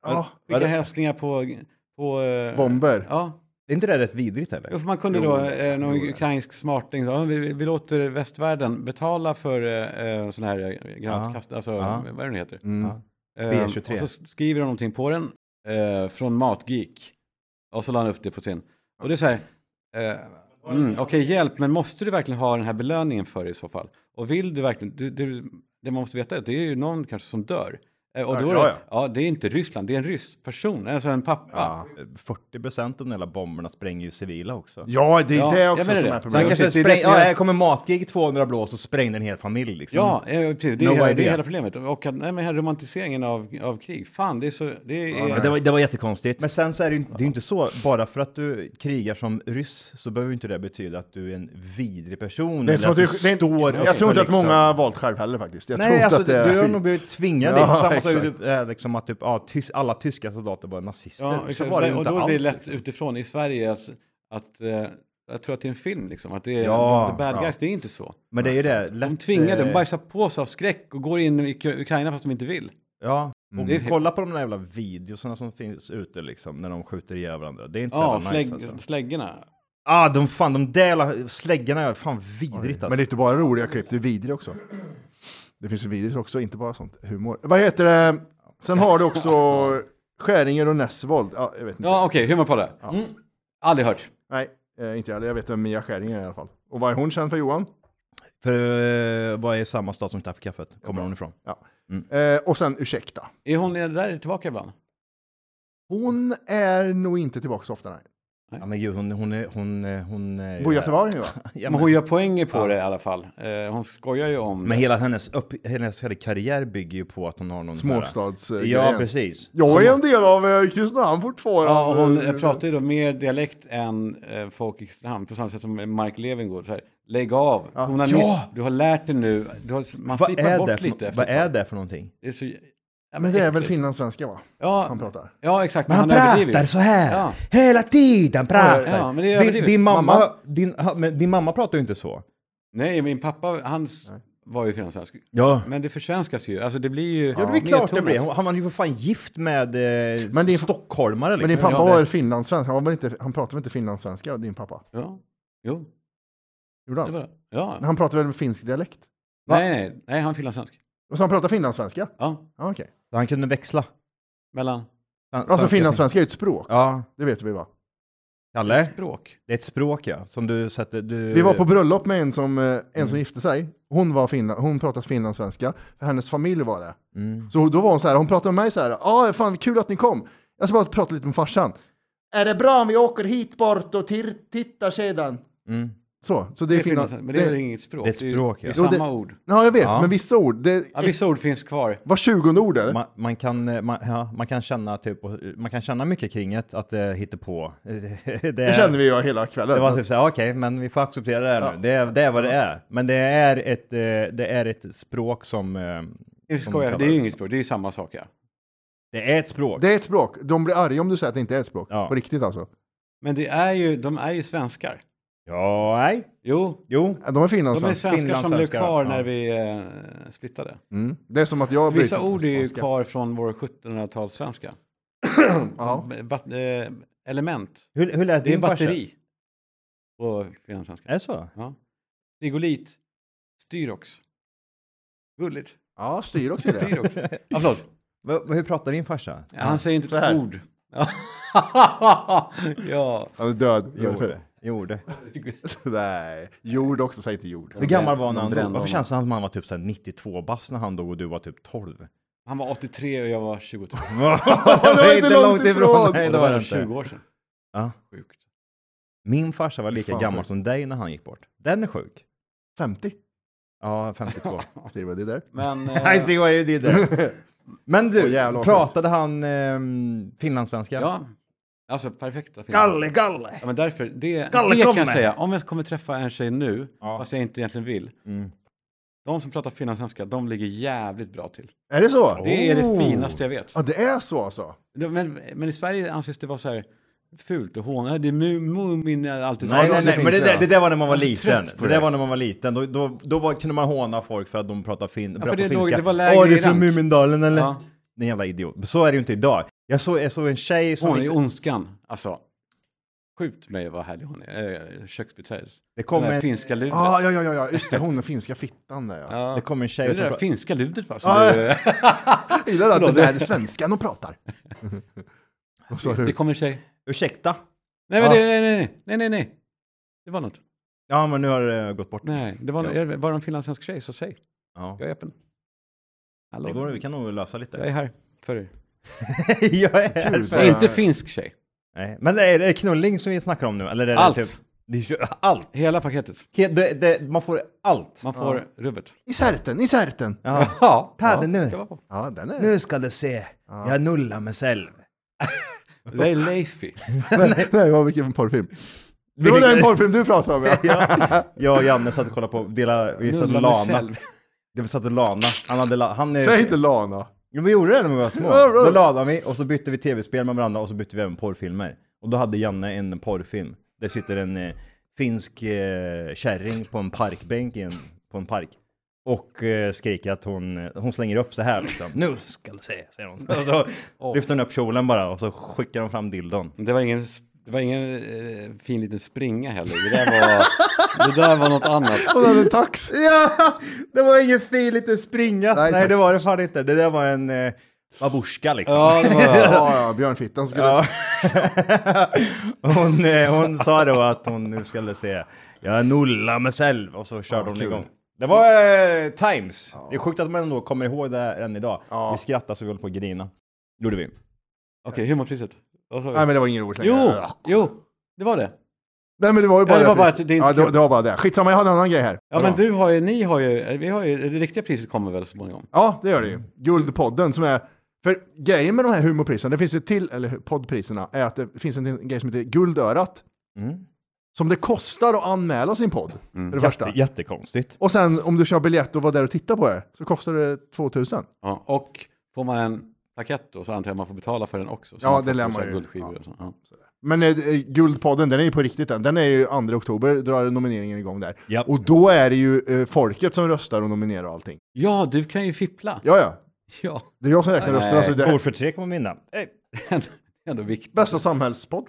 S2: Ja,
S1: Vilka
S3: det-
S1: hälsningar på... på eh,
S2: bomber.
S1: Ja.
S3: Är inte det rätt vidrigt eller?
S1: Jo, för man kunde då, eh, någon ukrainsk smarting, sa, "Ja, vi, vi- vi låter västvärlden betala för eh, sån här eh, granatkast, alltså
S3: Ja.
S1: vad är det nu heter.
S2: Mm.
S3: Ja.
S1: Eh,
S3: B23.
S1: Och så skriver de någonting på den, eh, från Matgeek. Och så la han upp det på sin. Och det är så här, eh, mm, okej hjälp, men måste du verkligen ha den här belöningen för det i så fall? Och vill du verkligen, du, du, det man måste veta är att det är ju någon kanske som dör. Eh, och
S2: Ja,
S1: då är
S2: ja,
S1: det,
S2: ja.
S1: ja. det är inte Ryssland, det är en rysk person, alltså en pappa.
S2: Ja.
S3: 40 procent av de där bomberna spränger ju civila också.
S2: Ja, det är
S1: Ja,
S2: det
S1: jag
S2: också
S1: menar
S2: som
S1: det. Men
S2: är
S3: Han
S2: problemet.
S1: jag
S3: kanske
S1: precis, det är
S3: spräng,
S1: det som
S3: ja,
S1: jag-
S3: här kommer matgig 200 blås och sprängde en hel familj liksom.
S1: Ja, eh, precis. Det är,
S3: No
S1: hela, det
S3: idea.
S1: är hela problemet. Och att- nej, men här romantiseringen av, av krig. Fan, det är så... Det är,
S3: Ja, det, var, det var jättekonstigt. Men sen så är det ju det är ju inte så, bara för att du krigar som ryss så behöver ju inte det betyda att du är en vidrig person.
S2: Det är som att
S3: eller
S2: du,
S3: att
S2: det är,
S3: står upp
S2: jag tror
S3: för
S2: inte att
S3: liksom-
S2: många har valt själv heller faktiskt. Jag tror
S3: Nej,
S2: inte
S3: alltså
S2: att det är...
S3: du har nog blivit tvingad in.
S2: Ja,
S3: Samma sak
S2: exakt.
S3: typ, eh, liksom att typ, ja, tys, alla tyska soldater var nazister.
S1: ja,
S3: så
S1: exakt.
S3: var det ju
S1: och
S3: inte
S1: då
S3: alls.
S1: blir det lätt
S3: liksom.
S1: utifrån i Sverige att... att eh, jag tror att det är en film liksom. Att det är
S3: Ja,
S1: the, the bad
S2: ja.
S1: guys. Det är inte så.
S3: Men det är ju det. Lätt,
S1: De tvingade, de
S3: eh,
S1: bajsar på sig av skräck och går in i Ukra- Ukraina fast de inte vill.
S3: Ja.
S1: Det är
S2: Mm.
S3: Och kolla på de där jävla videorna som finns ute liksom, när de skjuter ihjäl varandra. Det är inte så
S1: Ja,
S3: jävla
S1: slägg,
S3: nice alltså.
S1: släggorna.
S3: Ah, de fan, de där jävla släggorna är fan vidrigt
S2: Men det är
S3: alltså.
S2: inte bara roliga klipp, det är vidrigt också. Det finns ju vidrigt också, inte bara sånt humor. Vad heter det? Sen har du också Skäringer och Nessvold. Ja, jag vet inte.
S1: Ja, okej, humor på det. Mm. Aldrig hört.
S2: Nej, eh, inte jag. Jag vet vem Mia Skäringer är i alla fall. Och vad är hon känd för Johan?
S3: För eh, vad är samma stad som tappar kaffet? Kommer hon ifrån?
S2: Ja.
S3: Mm.
S2: Eh, och sen ursäkta.
S1: Är hon där tillbaka ibland?
S2: Hon är nog inte tillbaka så ofta, nej.
S3: Ja men gud, hon, hon, är- hon, eh, hon, är ju
S2: Boja
S3: här.
S2: Savarin, va?
S3: Ja,
S1: Men
S3: men,
S1: hon gör poänger på det i alla fall. Eh, hon skojar ju om...
S3: men hela hennes, upp, hennes hela karriär bygger ju på att hon har någon...
S2: Småstads... eh,
S3: Ja,
S2: grejen.
S3: precis.
S2: Jag är en del av eh, Kristinehamn fortfarande.
S1: Ja, och hon eh, pratar ju då mer dialekt än eh, folk i Kristinehamn, på samma sätt som Mark Levengood. Så här, Lägg av, tona
S3: Ja.
S1: ner, du har lärt dig nu, du har, man
S3: Vad
S1: slipar
S3: är,
S1: bort
S3: det
S1: lite
S3: för,
S1: efter
S3: vad
S1: ett tag.
S3: är det för någonting?
S1: det? är så, ja,
S2: Men det är väl
S1: äckligt.
S2: finlandssvenska, va? Han
S1: Ja,
S2: pratar.
S1: ja, exakt, men han, överdriver ju.
S3: här,
S1: Ja.
S3: hela tiden
S1: Ja, men det är
S3: din,
S1: överdrivet.
S3: din, mamma,
S2: Mamma?
S3: Din, ha- men din mamma pratar ju inte så.
S1: Nej, min pappa, han s- var ju finlandssvensk.
S3: Ja.
S1: Men det försvenskas ju, alltså det blir ju...
S3: Ja, det är klart det
S1: nedtonat.
S3: blir. Hon- Han var ju för fan gift med eh,
S2: Men din-
S3: stockholmare liksom.
S2: Men din pappa
S3: Ja,
S2: var
S3: det-
S2: väl finlandssvensk? Han, var väl inte, han pratade väl inte finlandssvenska, din pappa?
S1: Ja, jo,
S2: Gjorde
S1: det
S2: han?
S1: var det. Ja.
S2: Han pratade väl med finsk dialekt?
S1: Nej, nej, nej, han är finlandssvensk.
S2: Och så han pratar finlandssvenska?
S1: Ja.
S2: Ja, okej.
S3: Han kunde växla.
S1: Mellan
S2: Alltså finlandssvenska är ju ett språk,
S3: Ja,
S2: det vet vi va?
S3: Kalle.
S1: språk.
S3: Det är ett språk ja, som du sätter... Du...
S2: Vi var på bröllop med en som, eh, en som gifte sig. Hon, var finland, hon pratade finlandssvenska, för hennes familj var det.
S3: Mm.
S2: Så då var hon så här, hon pratade med mig så här, ja fan kul att ni kom. Jag ska bara prata lite med farsan. Är det bra om vi åker hit bort och tir- tittar sedan?
S3: Mm.
S2: Så, så det är
S1: finland,
S2: finland...
S1: men det är väl inget språk?
S3: det är ett
S1: ju-
S3: språk,
S1: det är
S3: ja.
S2: Jo, det-
S1: samma ord.
S2: Ja, jag vet,
S3: Ja.
S2: men vissa ord, det
S1: Ja,
S2: är
S1: vissa ord finns kvar.
S2: var tjugonde ord är det?
S3: Man, man, kan, eh, man, ja, man kan känna typ, och- man kan känna mycket kring det, att det hittar på. Det,
S2: Det kände vi ju hela kvällen.
S3: Det var typ såhär, okej, men vi får acceptera det här nu. Det, är- det är vad det är. Men det är ett, eh, det är ett språk som... eh,
S1: Jag
S3: som
S1: skojar,
S3: kallar
S1: det är ju inget språk, det är ju samma sak ja.
S3: Det är ett språk.
S2: Det är ett språk, de blir arga om du säger att det inte är ett språk.
S3: Ja.
S2: På riktigt alltså.
S1: Men det är ju, de är ju svenskar.
S3: Ja, nej.
S1: Jo,
S3: Jo.
S2: De är alltså.
S1: de är
S2: finlandssvenska.
S1: svenskar som blev
S3: Finlandssvenskar,
S1: kvar
S3: ja.
S1: när vi eh, splittade.
S2: Mm. Det är som att jag...
S1: Vissa
S2: blir-
S1: ord är ju
S2: svenska.
S1: kvar från vår 1700-talssvenska.
S2: Ja.
S1: Bat- eh, Element,
S3: Hur, hur lät
S1: det är
S3: din farsa?
S1: batteri. På finlandssvenska.
S3: Är det så?
S1: Ja. Frigolit, styrox. Gulligt.
S2: Ja, styr också det.
S1: Styrox. Ja, förlåt.
S3: Va- va- hur pratar din farsa?
S1: Ja, Han säger inte
S2: Så här.
S1: ett ord. ja.
S2: Han är död.
S3: Gjorde. Gjorde.
S2: Nej, jord också, säg inte jord.
S3: Hur gammal var han
S1: de
S3: när han dog?
S1: brände
S3: Varför
S1: honom.
S3: känns det som att man var typ såhär 92 bast när han dog och du var typ 12?
S1: Han var 83 och jag var 22.
S3: det var
S2: inte långt ifrån.
S3: Nej,
S1: Och
S3: det var det
S1: 20
S3: inte.
S1: år sedan.
S3: Ja.
S1: Sjukt.
S3: Min farsa var lika
S2: Fan,
S3: gammal
S2: sjukt.
S3: som dig när han gick bort. Den är sjuk.
S2: 50?
S3: Ja, 52.
S2: Det var det där.
S1: Men,
S3: I
S1: eh,
S3: see what you did there. Men
S2: Åh,
S3: du,
S2: jävlar vad
S3: pratade han ehm, finlandssvenska?
S1: ja. Alltså perfekta filmer.
S3: Galle, galle!
S1: Ja, men därför, det,
S3: Kalle,
S1: det
S3: kom
S1: kan jag
S3: med.
S1: säga. Om jag kommer träffa en tjej nu,
S3: Ja.
S1: fast jag inte egentligen vill.
S3: Mm.
S1: De som pratar finlandssvenska, de ligger jävligt bra till.
S2: Är det så?
S1: Det är det
S3: Oh.
S1: finaste jag vet.
S2: Ja, det är så alltså.
S1: Det- Men, men i Sverige anses det vara så här fult och hånigt. Det är mu- Mumin är alltid så
S3: Nej,
S1: här.
S3: nej,
S2: det
S3: nej, men det,
S2: finns,
S3: där,
S2: ja.
S3: det där var när man var
S1: Jag är så
S3: liten.
S1: trött på
S3: Det
S1: det.
S3: där var när man var liten. Då, då, då var, kunde man håna folk för att de pratade fin,
S1: för
S3: bra
S1: det
S3: på
S1: låg-
S3: finska.
S1: det var lägre
S3: Åh, det är
S1: i
S3: från
S1: rang."
S3: Mumindalen eller?
S1: Ja.
S3: Nej, jävla idiot. Så är det ju inte idag. Jag såg, jag såg en tjej som...
S1: Hon är
S3: gick-
S1: ondskan. Alltså, skjut mig vad härlig hon är. Eh, Köksbiträdet.
S3: det, kom
S1: Den där
S3: en,
S1: finska ludet.
S2: Ah, ja, ja, ja, ja, just det, hon är finska fittan där ja.
S1: Ja.
S3: det kom en
S1: Det är
S3: tjej
S1: det
S3: som...
S1: där
S3: Pra-
S1: finska ljudet va? Som
S2: Ja,
S1: du,
S2: Jag gillar att
S1: Förlåt,
S2: det där
S1: det-
S2: är svenskan hon pratar. Vad sa
S1: det
S2: du?
S1: kommer en tjej.
S3: Ursäkta?
S1: Nej,
S3: Ja.
S1: men det, nej, nej, nej, nej, nej. Det var något.
S3: Ja, men nu har det gått bort.
S1: Nej, det var,
S3: Ja.
S1: ja. var det en finlandssvensk tjej så säg.
S3: Ja.
S1: Jag är öppen. Hallå.
S3: Det går, vi kan nog lösa lite.
S1: Jag är här för er.
S3: jag är här
S2: Gud,
S3: för-
S1: Jag
S2: Nej.
S1: är inte finsk tjej.
S3: Nej. Men är det knulling som vi snackar om nu? Eller är det
S1: Allt.
S3: Typ, det är ju allt!
S1: Hela paketet.
S3: Ke- Det, det, man får allt!
S1: Man får rubbet.
S2: I särten, i särten.
S3: Ja.
S1: Ja.
S3: Padden
S1: Det,
S3: nu!
S1: var på.
S2: Ja, den är...
S3: Nu ska du se! Jag nullar mig själv.
S1: det där är Leify.
S2: Nej, nej, vad vilken porrfilm. Det var den porrfilm du pratade om ja.
S3: Ja, jag och Janne satt och kollade på, dela, vi satt och
S1: Nullar mig
S3: lana.
S1: själv.
S3: Vi satt och lana. Han hade la, han är...
S2: Säg inte Lana.
S3: Jo, vi gjorde det när vi var små.
S2: Ja, bra.
S3: Då lanade vi och så bytte vi tv-spel med varandra och så bytte vi även porrfilmer. Och då hade Janne en porrfilm. Det sitter en eh, finsk eh, kärring på en parkbänk i en, på en park. Och eh, skriker att hon, eh, hon slänger upp så här liksom. Nu ska du se, säger hon. Och så lyfter hon upp kjolen bara och så skickar hon fram dildon.
S1: Det var ingen, det var ingen eh, fin liten springa heller. Det där var, det där var något annat.
S2: Hon hade en tax.
S3: Ja, det var ingen fin liten springa.
S2: Nej,
S3: Nej,
S2: tack.
S3: det var det fan inte. Det där var en eh, babuska liksom.
S1: Ja, det var...
S2: Ja, ja, björnfittan skulle...
S3: Ja. hon, eh, hon sa då att hon nu skulle se Jag nullar mig själv och så körde
S2: vad
S3: hon
S2: kul.
S3: igång. Det var eh, times. Det är sjukt att man ändå kommer ihåg det här än idag. Vi skrattade så vi höll på att grina. gjorde vi.
S1: Okej, humorpriset. Vad sa vi?
S2: Nej, men det var ingen roligt längre.
S1: Jo, jo, det var det.
S2: Nej, men det var ju bara
S1: Ja, det var bara
S2: priset.
S1: att det inte
S2: ja, det,
S1: kul.
S2: det var bara det. Skitsamma, jag hade en annan grej här.
S1: Ja, men du har ju, ni har ju, vi har ju, det riktiga priset kommer väl så småningom.
S2: Ja, det gör det ju. Guldpodden som är... För grejen med de här humorpriserna, det finns ju till, eller poddpriserna, är att det finns en grej som heter Guldörat.
S3: Mm.
S2: Som det kostar att anmäla sin podd,
S1: Mm.
S2: för det första.
S3: Jätte, jättekonstigt.
S2: Och sen om du kör biljett och var där och tittar på det, så kostar det 2000.
S1: Ja, och får man en pakett då så antar jag man får betala för den också. Så
S2: Ja,
S1: man får
S2: det lär
S1: så
S2: man
S1: här
S2: ju.
S1: Guldskivor
S2: Ja.
S1: och så. Ja.
S2: Men eh, Guldpodden, den är ju på riktigt den. Den är ju 2 oktober, drar nomineringen igång där.
S3: Japp.
S2: Och då är det ju eh, folket som röstar och nominerar och allting.
S1: ja, du kan ju fippla.
S2: Ja, ja.
S1: Ja,
S2: Det är jag som räknar rösterna.
S1: Nej.
S2: så det
S3: Ord för tre kommer vinna. Eh, Hey.
S1: det är ändå viktigt.
S2: Bästa samhällspodd.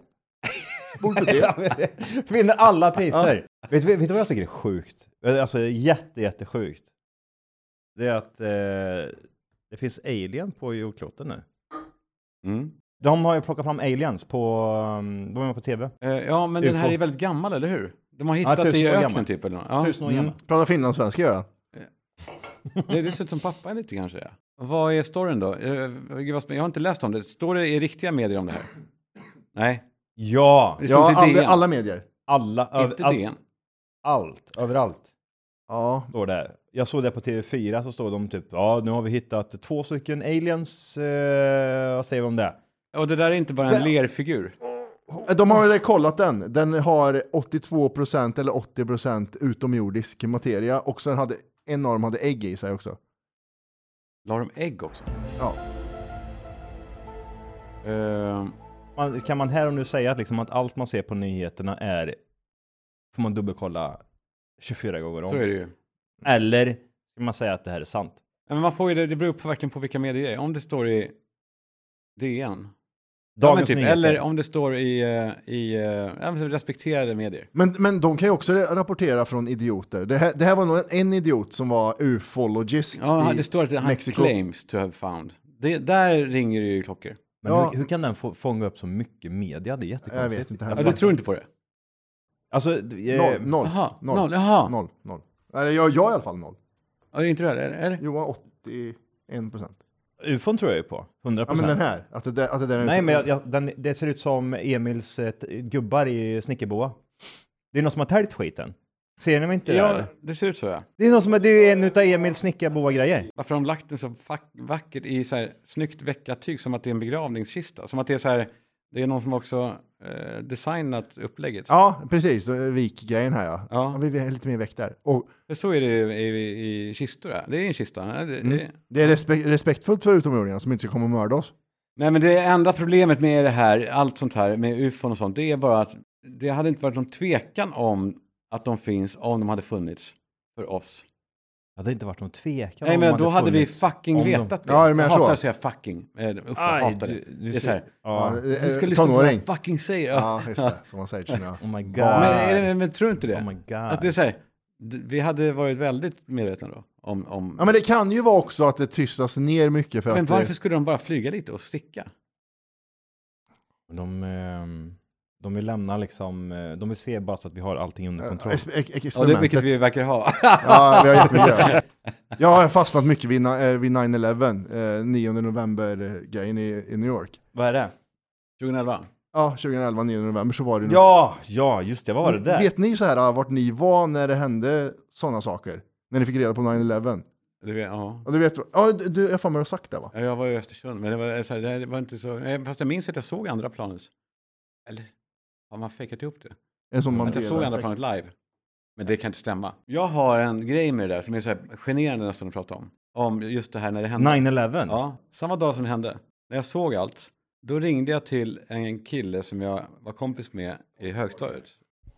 S2: Bord för tre.
S3: Vinner alla priser. Vet, du- vet du vad jag tycker är sjukt? Alltså jätte, jättesjukt. Det är att eh, det finns alien på jordkloten nu.
S1: Mm.
S3: De har ju plockat fram aliens på, um, de var på tv.
S1: Eh, ja, men den här
S3: UFO.
S1: är väldigt gammal, eller hur? De har hittat
S3: tusen
S1: det i
S3: år
S1: öknen
S3: gammal.
S1: typ. Eller något. ja.
S3: Tusen
S2: Mm.
S3: år gammal.
S2: Prata finlandssvenska gör jag.
S1: Det, det ser ut som pappa lite kanske. Ja. Vad är storyn då? Eh, gud, vad spännande. jag har inte läst om det. Står det i riktiga medier om det här? Nej.
S3: Ja,
S1: Det står
S2: Ja,
S1: inte i alltså,
S2: alla,
S1: DN.
S2: alla medier.
S3: alla, över,
S1: Inte
S2: alltså-
S3: allt,
S1: DN.
S3: allt, överallt
S2: Ja,
S3: står det. Jag såg det på TV4 så står de typ, ja nu har vi hittat två stycken aliens, eh, vad säger vi om det?
S1: Och det där är inte bara en lerfigur.
S2: Eh, De har väl kollat den. Den har 82% eller 80% utomjordisk materia och sen hade enorm hade ägg i sig också.
S1: La de ägg också?
S2: Ja.
S1: Eh,
S3: Man, kan man här och nu säga att, liksom, att allt man ser på nyheterna är, får man dubbelkolla 24 gånger om?
S1: så är det ju.
S3: Eller kan man säga att det här är sant?
S1: Men man får ju det, det beror på verkligen på vilka medier det är. Om det står i DN. ja, men
S3: Dagens
S1: typ,
S3: nyheter.
S1: Eller om det står i, eh, i eh, ja, men respekterade medier.
S2: Men, men de kan ju också rapportera från idioter. Det här, det här var nog en idiot som var ufologist
S1: Ja,
S2: i
S1: det står att han
S2: Mexiko.
S1: claims to have found. Det, där ringer det ju klockor.
S3: Men
S2: Ja.
S3: hur, hur kan den få, fånga upp så mycket media? Det är
S2: Jag
S3: jättekonstigt.
S2: vet inte.
S1: Ja,
S2: Här.
S1: du tror inte på det?
S3: Alltså, d- eh,
S2: Noll, noll,
S1: Jaha,
S2: noll,
S1: noll, jaha.
S2: noll, noll. Eller jag, jag i alla fall noll.
S1: Ja, inte du heller? Eller?
S2: Johan 81%.
S3: ufon tror jag ju på. 100%.
S2: Ja, men den här. Att det där, att det där är
S3: Nej, men jag, jag, den, det ser ut som Emils eh, t- gubbar i Snickerboa. Det är någon som har täljt skiten. Ser ni mig inte?
S1: Ja,
S3: där?
S1: det ser ut så ja.
S3: Det är någon som har, det är en utav Emils Snickerboa-grejer.
S1: Varför har de lagt den så fack- vackert i så här snyggt veckatyg som att det är en begravningskista? Som att det är så här, det är någon som också eh, designat upplägget.
S2: Ja, precis. Då är Vikgrejen här ja.
S1: Ja.
S2: ja. Vi är lite mer väck där. Och
S1: För Så är det ju i, i, i kistor här. Det är en kista. Nej, det,
S3: Mm.
S1: det,
S2: det är respe- respektfullt för utomjordingarna som inte ska komma och mörda oss.
S1: nej men det enda problemet med det här, allt sånt här med ufon och sånt, det är bara att det hade inte varit någon tvekan om att de finns om de hade funnits för oss.
S3: Det hade inte varit någon tvekan
S1: Nej
S3: om
S1: men
S3: de
S1: då hade vi
S3: funnits. Om
S1: fucking
S3: de-
S1: vetat det.
S2: Ja, du
S1: jag
S2: menar så.
S1: hatar att säga fucking. Eh, Uff, jag
S3: Aj,
S1: hatar det.
S3: du-
S1: det
S3: du
S1: är så
S3: ser- Ah,
S1: här.
S3: Ja.
S1: Du ska lyssna
S2: eh,
S1: på vad
S2: tonåring.
S1: jag fucking säger. Ja.
S2: Ja, just det. Som man säger till sina...
S3: Oh my god.
S1: Men, är det, men tror du inte det?
S3: Oh my god.
S1: Att det är så här, d- vi hade varit väldigt medvetna då. Om, om...
S2: Ja, men det kan ju vara också att det tystas ner mycket för
S1: men
S2: att...
S1: varför skulle de bara flyga lite och sticka?
S3: De, ehm, de vill lämna liksom, eh, de vill se bara så att vi har allting under
S2: eh,
S3: kontroll.
S2: ex- ex- ex-
S1: Ja, det är
S2: experimentet.
S1: vilket vi verkar ha.
S2: Ja, vi har jättemycket. Jag har fastnat mycket vid, na- eh, vid 9-11, eh, 9 november-grejen i, i New York.
S3: Vad är det?
S1: 2011.
S2: Ja, 2011, 9 november, så var det nog-
S3: Mm. Ja, ja, just det, vad var det där?
S2: Vet ni så här ah, vart ni var när det hände sådana saker? När ni fick reda på 9-11?
S1: Det, vet- ja.
S2: Ja, du vet, ja, du, du, jag har för mig att du har sagt det va?
S1: Ja, Jag var i Östersund, men det var, så här, det här var inte så... nej, Fast jag minns att jag såg andra planet. Eller? Har man fejkat ihop det?
S2: En sån
S1: Att jag såg andra planet live. Men det kan inte stämma. Jag har en grej med det där som är så här generande nästan att prata om. Om just det här när det hände.
S3: 9-11?
S1: Ja, samma dag som det hände. När jag såg allt, då ringde jag till en kille som jag var kompis med i högstadiet.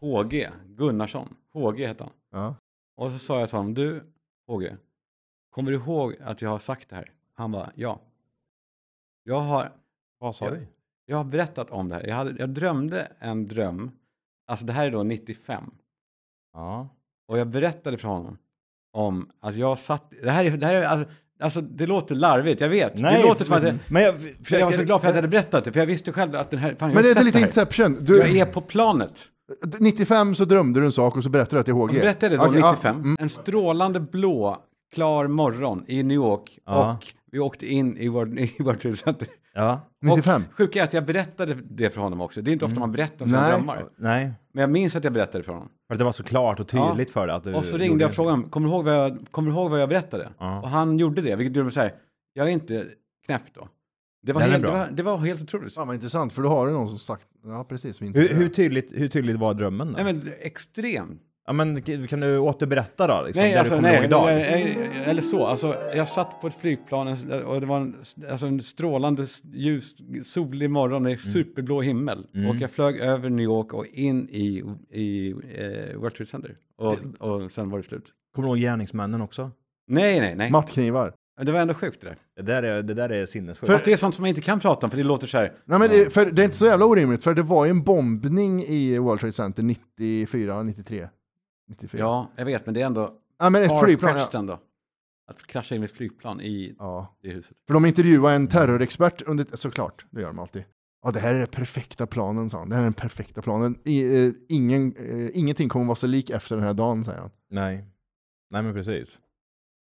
S1: HG Gunnarsson. HG hette han.
S2: Ja.
S1: Och så sa jag till honom, du HG, kommer du ihåg att jag har sagt det här? Han bara, ja. Jag har,
S3: Vad sa
S1: Ja.
S3: du?
S1: jag har berättat om det här. Jag, hade, jag drömde en dröm. Alltså det här är då 95.
S3: Ja.
S1: Och jag berättade för honom om att jag satt... Det här är... Det här är alltså, alltså det låter larvigt, jag vet. det låter som att... det-
S3: Men jag
S1: för jag var så
S3: försöker-
S1: glad för att jag hade berättat det, för jag visste själv att den här... Fan, jag
S2: Men
S1: har
S2: det är
S1: sett
S2: lite
S1: här.
S2: Inception. Du,
S1: Jag är på planet.
S2: 95 så drömde du en sak och så berättade du att det är HG.
S1: Och så berättade jag Alltså, det
S2: Okej,
S1: då,
S2: ja,
S1: 95.
S2: mm.
S1: En strålande blå, klar morgon i New York.
S3: Ja.
S1: Och vi åkte in i World, i World Trade Center.
S3: Ja.
S2: 95.
S1: Och sjuka är att jag berättade det för honom också. Det är inte ofta man berättar om sina
S2: Nej.
S1: drömmar.
S3: Mm. Nej.
S1: Men jag minns att jag berättade för honom.
S3: För att det var så klart och tydligt för dig att du
S1: Och så
S3: gjorde
S1: ringde jag och
S3: det.
S1: frågade honom, kommer du ihåg vad jag, kommer du ihåg vad jag berättade?
S3: Ja.
S1: Och han gjorde det, vilket gjorde mig så här, jag är inte knäpp då. Det var,
S3: Den är
S1: helt, det,
S3: bra.
S1: var, det var helt otroligt.
S2: Fan vad intressant, för då har du någon som sagt, ja precis, som inte
S3: Hur, hur, tydligt, hur tydligt var drömmen då?
S1: Nej men extrem.
S3: ja, men k- kan du återberätta då? Liksom,
S1: Nej,
S3: det
S1: alltså,
S3: du kommer
S1: nej,
S3: ihåg idag?
S1: nej, nej, eller så. Alltså, jag satt på ett flygplan och det var en, alltså, en strålande ljus, solig morgon med superblå himmel. Och jag flög över New York och in i, i eh, World Trade Center. Och, och sen var det slut.
S3: Kommer du ihåg gärningsmännen också?
S1: Nej, nej, nej.
S2: Mattknivar.
S1: Det var ändå sjukt det där.
S3: Det där är, det där är sinnessjukt.
S1: Fast det är sånt som man inte kan prata om för det låter så här.
S2: Nej men det, för det är inte så jävla orimligt, för det var ju en bombning i World Trade Center 94, 93. 94.
S1: Ja, jag vet, men det är ändå
S2: Ja, men ett flygplan.
S1: far-fetched
S2: Ja.
S1: ändå. Att krascha in med ett flygplan i
S2: Ja.
S1: det huset.
S2: För de intervjuade en terrorexpert under, såklart, det gör de alltid. Ja, det här är den perfekta planen, sa han. Det här är den perfekta planen. I, eh, ingen, eh, ingenting kommer vara så lik efter den här dagen, säger han.
S3: Nej. Nej men precis.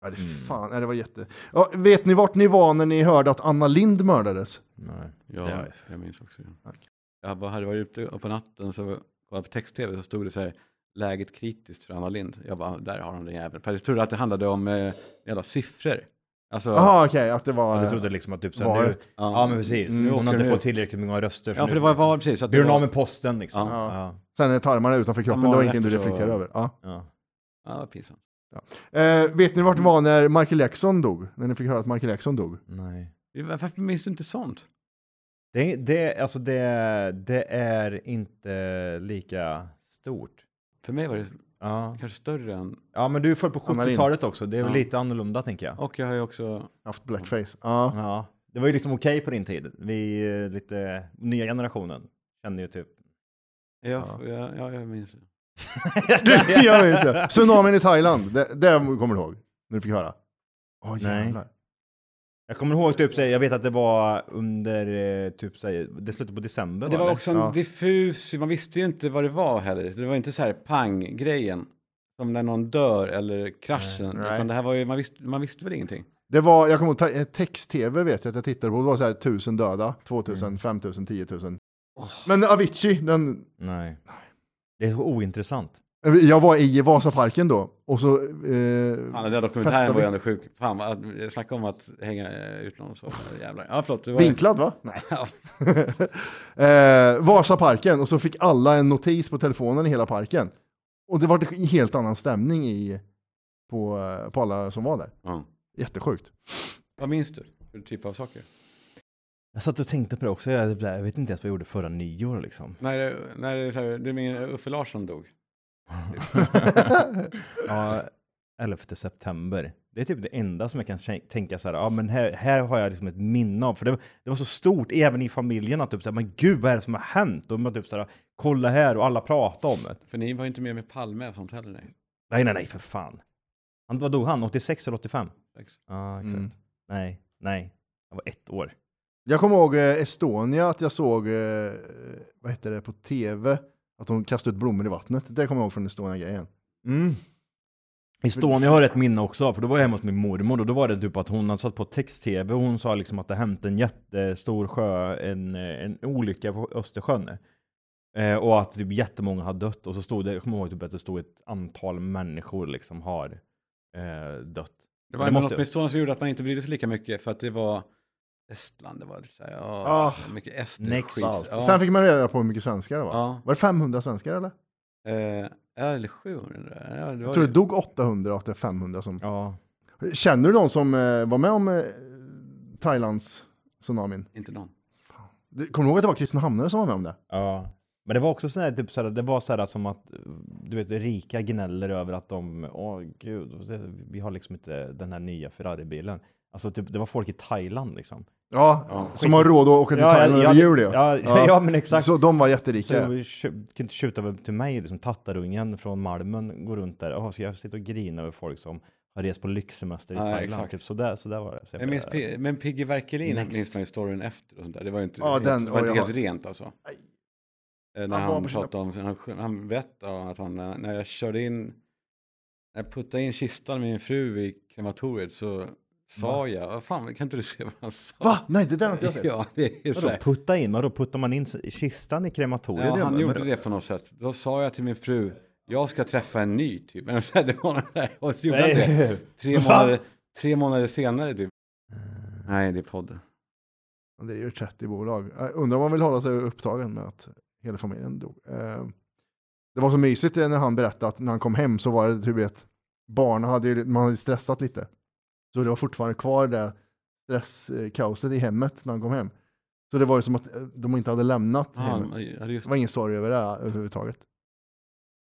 S2: Ja, det,
S3: Mm.
S2: fan, nej, det var jätte... Ja, vet ni vart ni var när ni hörde att Anna Lind mördades?
S3: Nej.
S1: Ja,
S3: Ja.
S1: jag minns också. Ja.
S2: Tack.
S1: Jag bara hade varit ute på natten så kollade jag på text-tv så stod det så här läget kritiskt för Anna Lind. Jag bara, där har de den jäveln. För jag trodde att det handlade om eh, jävla siffror. Alltså,
S2: Jaha, okej, att det var...
S3: Ja, du trodde liksom att typ
S2: Var
S3: såhär nu... Ja men precis.
S1: Nu
S3: Hon
S1: Mm, åker
S3: hade
S1: den
S3: fått
S1: ut.
S3: tillräckligt många röster.
S1: Ja,
S3: nu-
S1: för det var, var precis. Att det
S3: Blir hon
S1: var-
S3: av med posten liksom?
S2: Ja.
S3: Ja.
S2: Sen är tarmarna utanför kroppen, det var
S1: Morgonen
S2: ingenting du
S1: efter så-
S2: reflekterade över. Ja.
S3: ja.
S1: Ja, vad pinsamt.
S2: Eh, vet ni
S3: Mm.
S2: vart ni var när Michael Jackson dog? När ni fick höra att Michael Jackson dog?
S3: Nej.
S1: Varför minns du inte sånt?
S3: Det, det, alltså det, det är inte lika stort.
S1: För mig var det
S3: Ja.
S1: kanske större än...
S3: ja, men du är född på
S2: Anna Lindh.
S3: 70-talet också. Det är väl
S1: Ja.
S3: lite annorlunda tänker jag.
S1: Och jag har ju också...
S2: Haft blackface. Ja.
S3: Ja. Det var ju liksom okej på din tid. Vi, eh, lite, nya generationen, känner ju typ...
S1: Ja, ja. ja jag minns det.
S2: jag minns det. Tsunamin i Thailand, det, det kommer du ihåg? När du fick höra? Åh
S3: Nej.
S2: jävlar.
S3: Jag kommer ihåg typ, så här, jag vet att det var under eh, typ så här, det slutade på december
S1: Det var
S3: eller?
S1: också en
S2: Ja.
S1: diffus, man visste ju inte vad det var heller. Det var inte så här pang-grejen. Som när någon dör eller kraschen.
S2: Nej.
S1: Utan det här var ju, man visste, man visste väl ingenting.
S2: Det var, jag kommer ihåg, ta- eh, text-tv vet jag att jag tittade på, det var så här 1000 döda, 2000,
S1: Mm.
S2: 5000, 10 000. Men Avicii, den,
S3: Nej. Det är så ointressant.
S2: jag var i Vasaparken då, och så... Eh,
S1: Fan, den där
S2: Festar
S1: dokumentären var
S2: vi-
S1: ju ändå sjuk. Fan, vad- snacka om att hänga eh, ut någon så. Jävlar. Ja, förlåt. Det var...
S2: Vinklad va? Nej.
S1: Ja.
S2: eh, Vasaparken och så fick alla en notis på telefonen i hela parken. Och det var en helt annan stämning i, på, eh, på alla som var där.
S1: Ja.
S2: Jättesjukt.
S1: Vad minns du? För typ av saker?
S3: Jag satt och tänkte på det också, jag, typ så här, jag vet inte ens vad jag gjorde förra nyår liksom.
S1: När, det- när det, är så här, det är min eh, Uffe Larsson dog.
S3: Ja, 11 september. Det är typ det enda som jag kan tän- tänka så här, ja men här, här har jag liksom ett minne av, för det, var- det var så stort även i familjen att typ så här, men gud vad är det som har hänt? Och man typ så här, kolla här och alla pratar om det.
S1: För ni var ju inte med med Palme och sånt heller. Nej.
S3: Nej, nej, nej för fan. Han, vad dog han? 86 eller 85?
S1: Sex.
S3: Ja, exakt.
S2: Mm.
S3: Nej, nej. Jag var ett år.
S2: Jag kommer ihåg eh, Estonia, att jag såg, eh, vad heter det, på tv, att de kastade ut blommor i vattnet. Det kommer jag ihåg från Estonia-grejen.
S3: Mm. Estonia har jag ett minne också, för då var jag hemma hos min mormor och då var det typ att hon hade satt på text-tv och hon sa liksom att det hänt en jättestor sjö, en, eh, en olycka på Östersjön. Eh, och att typ jättemånga har dött och så stod det, jag kommer ihåg typ att det stod ett antal människor liksom har eh, dött.
S1: Det var
S3: Det
S1: ändå
S3: måste
S1: något med Estonia som gjorde att man inte brydde sig lika mycket för att det var Estland, det var lite så här, ja,
S2: Ah.
S1: mycket ester
S3: Next.
S1: skit. Ja.
S2: Sen fick man reda på hur mycket svenskar det var.
S1: ja.
S2: Var det 500 svenskar eller?
S1: Eh, eller 700. Ja, det var
S2: Jag tror
S1: ju-
S2: det dog 800 och att det är 500 som...
S3: Ja,
S2: Känner du någon som eh, var med om eh, Thailands tsunamin?
S1: Inte någon.
S2: Det- Kommer du ihåg att det var Kristina Hamnare som var med om det?
S3: Ja. Men det var också sån här, typ såhär, det var såhär som att du vet, rika gnäller över att de, åh gud, det- vi har liksom inte den här nya Ferrari-bilen. Alltså typ, det var folk i Thailand liksom.
S2: Ja, som har råd att åka till
S3: Ja,
S2: Thailand
S3: ja,
S2: över
S3: ja,
S2: jul ja.
S3: ja, ja, men exakt.
S2: Så de var
S3: Så
S2: jätterika.
S3: du kan inte tjuta över till mig, liksom tattarungen från Malmen går runt där. Åh, så jag sitter och grinar över folk som har rest på lyxsemester i
S1: Ja,
S3: Thailand.
S1: exakt.
S3: Typ, så, där, så där var det. Så jag
S1: Jag minns,
S3: bara-
S1: Pi- men Piggy Verkelin
S3: Next.
S1: minns man ju storyn efter och sånt där. Det var ju inte,
S2: Ja,
S1: helt-
S2: den-
S1: det var
S2: och
S1: inte
S2: jag
S1: helt
S2: har-
S1: rent alltså.
S2: Aj.
S1: Eh, När
S2: Han var
S1: han
S2: på sina-
S1: pratade om, han, sj- han berättade att han, eh, när jag körde in, när jag puttade in kistan med min fru i krematoriet så sa jag, vad fan, kan inte du se vad han sa?
S2: Va? Nej, det där har inte jag sett.
S1: Ja, det är så
S3: Vadå
S1: här.
S3: putta in? Vadå puttar man in s- i kistan i krematoriet?
S1: Ja, han
S3: men-
S1: gjorde det på något sätt. Då sa jag till min fru, jag ska träffa en ny typ. Men så här, det var något där. Och så gjorde han det.
S3: Nej.
S1: Tre
S3: Vad fan?
S1: månader, tre månader senare typ.
S3: Eh.
S1: Nej, det är podden.
S2: Det är ju 30 bolag. Jag undrar om man vill hålla sig upptagen med att hela familjen dog. Eh, Det var så mysigt när han berättade att när han kom hem så var det typ ett barn, hade ju, man hade stressat lite. Så det var fortfarande kvar det stresskaoset i hemmet när han kom hem. Så det var ju som att eh, de inte hade lämnat hemmet.
S1: Ja, ja, just
S2: Det var ingen sorg över det överhuvudtaget.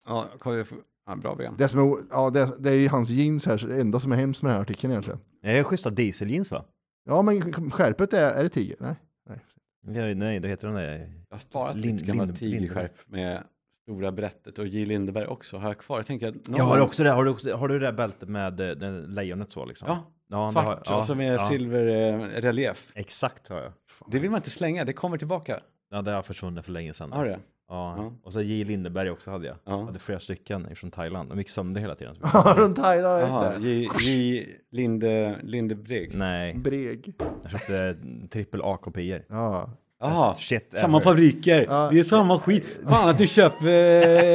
S1: Ja, kolla, jag får- ja, bra ben.
S2: Det, som är, o- ja, det, det är ju hans jeans här, så det enda som är hemskt med den här artikeln egentligen.
S3: Det är schyssta dieseljeans va?
S2: Ja, men skärpet är, är det tiger? Nej.
S3: Nej, nej, det heter den där.
S1: Jag har sparat
S3: Lind-
S1: mitt gamla
S3: Lind-
S1: tigerskärp med stora brättet och J. Lindeberg också har jag kvar. Jag tänker att någon
S3: Jag har
S1: gång-
S3: också det, har du, också, har du det där bältet med eh, det lejonet så liksom?
S1: Ja,
S3: ja det
S1: svart
S3: har, ja,
S1: som är
S3: ja.
S1: silverrelief.
S3: Exakt har jag.
S1: eh, Det vill man inte slänga, det kommer tillbaka.
S3: Ja, det har försvunnit för länge sedan.
S1: Har du det?
S3: Ja.
S1: Ja.
S3: och så J. Lindeberg också hade jag.
S1: Ja.
S3: Jag hade flera stycken från Thailand. De gick sönder hela tiden.
S2: Runt Thailand, just
S1: Jaha,
S2: det.
S1: J. J. Linde, Lindebrig.
S3: Nej,
S2: Breg.
S3: jag köpte trippel A-kopior.
S2: Ja.
S1: Jaha,
S3: Shit
S1: samma
S3: ever.
S1: fabriker.
S2: Ja.
S1: Det är samma skit. Fan att du köper...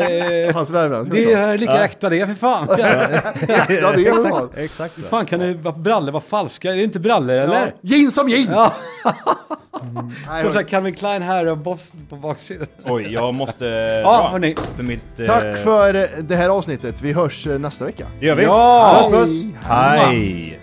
S1: Eh,
S2: Hans Värmland.
S1: det är lika äkta det, för fan.
S2: Ja, det är han.
S3: Exakt. så.
S1: fan kan det vara brallor vara falska? Är det inte brallor eller?
S2: Jeans som jeans! Mm.
S1: Ja.
S2: Nej,
S1: Står så här Calvin Klein här och Boss på baksidan.
S3: Oj, jag måste
S1: Ja,
S3: dra
S1: hörni.
S3: för mitt... eh,
S2: Tack för eh, det här avsnitt. Vi hörs eh, nästa vecka.
S3: Det gör vi.
S1: Ja!
S3: Puss, puss.
S2: Hej.
S3: Hej.